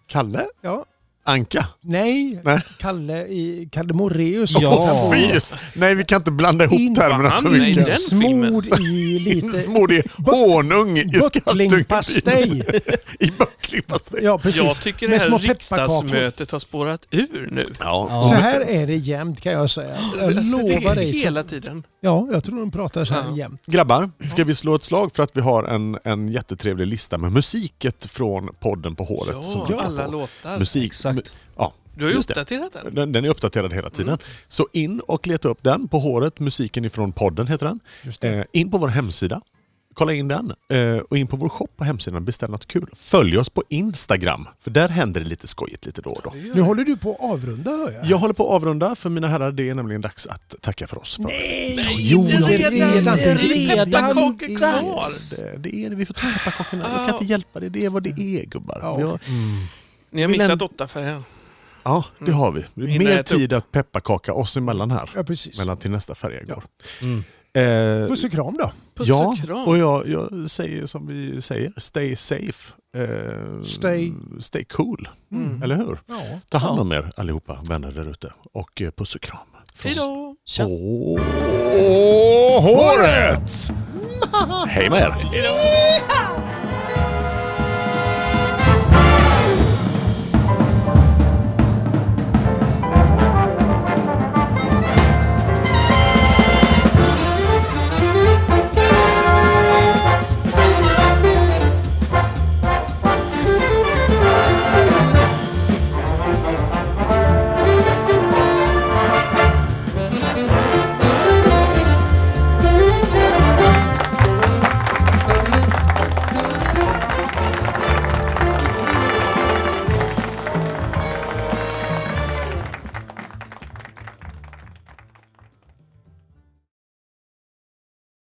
[SPEAKER 3] Kalle?
[SPEAKER 4] ja.
[SPEAKER 3] Anka?
[SPEAKER 4] Nej,
[SPEAKER 3] Nej.
[SPEAKER 4] Kalle i Kalle Moreus.
[SPEAKER 2] Ja.
[SPEAKER 3] Åh, fys! Nej, vi kan inte blanda ihop
[SPEAKER 4] Inte
[SPEAKER 3] termerna
[SPEAKER 1] han,
[SPEAKER 3] för
[SPEAKER 1] nej,
[SPEAKER 3] mycket.
[SPEAKER 1] den
[SPEAKER 4] Insmord i lite
[SPEAKER 3] Insmord i honung i Skattungebyn.
[SPEAKER 4] bucklingpastej.
[SPEAKER 3] I böcklingpastej.
[SPEAKER 4] Ja, precis.
[SPEAKER 1] Jag tycker det
[SPEAKER 4] Med små
[SPEAKER 1] här
[SPEAKER 4] pepparkakor.
[SPEAKER 1] riksdagsmötet har spårat ur nu.
[SPEAKER 3] Ja.
[SPEAKER 4] Så här är det jämt kan jag säga. Jag
[SPEAKER 1] Alltså, det
[SPEAKER 4] lovar
[SPEAKER 1] är
[SPEAKER 4] dig. så-
[SPEAKER 1] hela tiden.
[SPEAKER 4] Ja, jag tror de pratar så här
[SPEAKER 1] Ja.
[SPEAKER 4] jämt.
[SPEAKER 3] Grabbar, ska vi slå ett slag för att vi har en, en jättetrevlig lista med musiket från podden på håret? som vi
[SPEAKER 1] Ja,
[SPEAKER 3] går
[SPEAKER 1] alla
[SPEAKER 3] på.
[SPEAKER 1] låtar.
[SPEAKER 3] Musik. mu- Ja,
[SPEAKER 1] Du har Mm. ju
[SPEAKER 3] just det. Oh,
[SPEAKER 1] uppdaterat den.
[SPEAKER 3] Den, den är uppdaterad hela tiden. Så in och leta upp den på håret. Musiken ifrån podden heter den. Eh, in på vår hemsida. Kolla in den. Eh, och in på vår shop på hemsidan. Beställ något kul. Följ oss på Instagram. För där händer det lite skojigt lite då och då.
[SPEAKER 4] Nu håller du på att avrunda hör jag.
[SPEAKER 3] Jag håller på att avrunda för mina herrar. Det är nämligen dags att tacka för oss. För.
[SPEAKER 4] Nej,
[SPEAKER 3] Jo,
[SPEAKER 4] det är redan.
[SPEAKER 1] det är redan
[SPEAKER 2] redan
[SPEAKER 1] pepparkakor kvar.
[SPEAKER 3] Det, det är det. Vi får ta pepparkakorna. Jag kan inte hjälpa det. Det är vad det är gubbar.
[SPEAKER 4] Ja,
[SPEAKER 3] Vi har-
[SPEAKER 1] Ni har
[SPEAKER 3] Vill en-
[SPEAKER 1] missat åtta färgen.
[SPEAKER 3] Ja,
[SPEAKER 4] Mm.
[SPEAKER 3] det har vi.
[SPEAKER 1] hinner
[SPEAKER 3] Mer
[SPEAKER 1] äta
[SPEAKER 3] tid att pepparkaka oss emellan här.
[SPEAKER 4] Ja, precis. Mm.
[SPEAKER 3] Mellan till nästa färja går. Eh,
[SPEAKER 4] Puss och kram då.
[SPEAKER 1] Puss
[SPEAKER 3] ja,
[SPEAKER 1] och kram.
[SPEAKER 3] och jag, jag säger som vi säger, stay safe. Eh,
[SPEAKER 4] Stay- Mm.
[SPEAKER 3] stay cool,
[SPEAKER 1] Mm.
[SPEAKER 3] eller hur?
[SPEAKER 4] Ja.
[SPEAKER 3] Ta hand om er allihopa, vänner där ute. Och eh, puss och kram.
[SPEAKER 1] Hej då!
[SPEAKER 3] Åh, håret! Hej med er!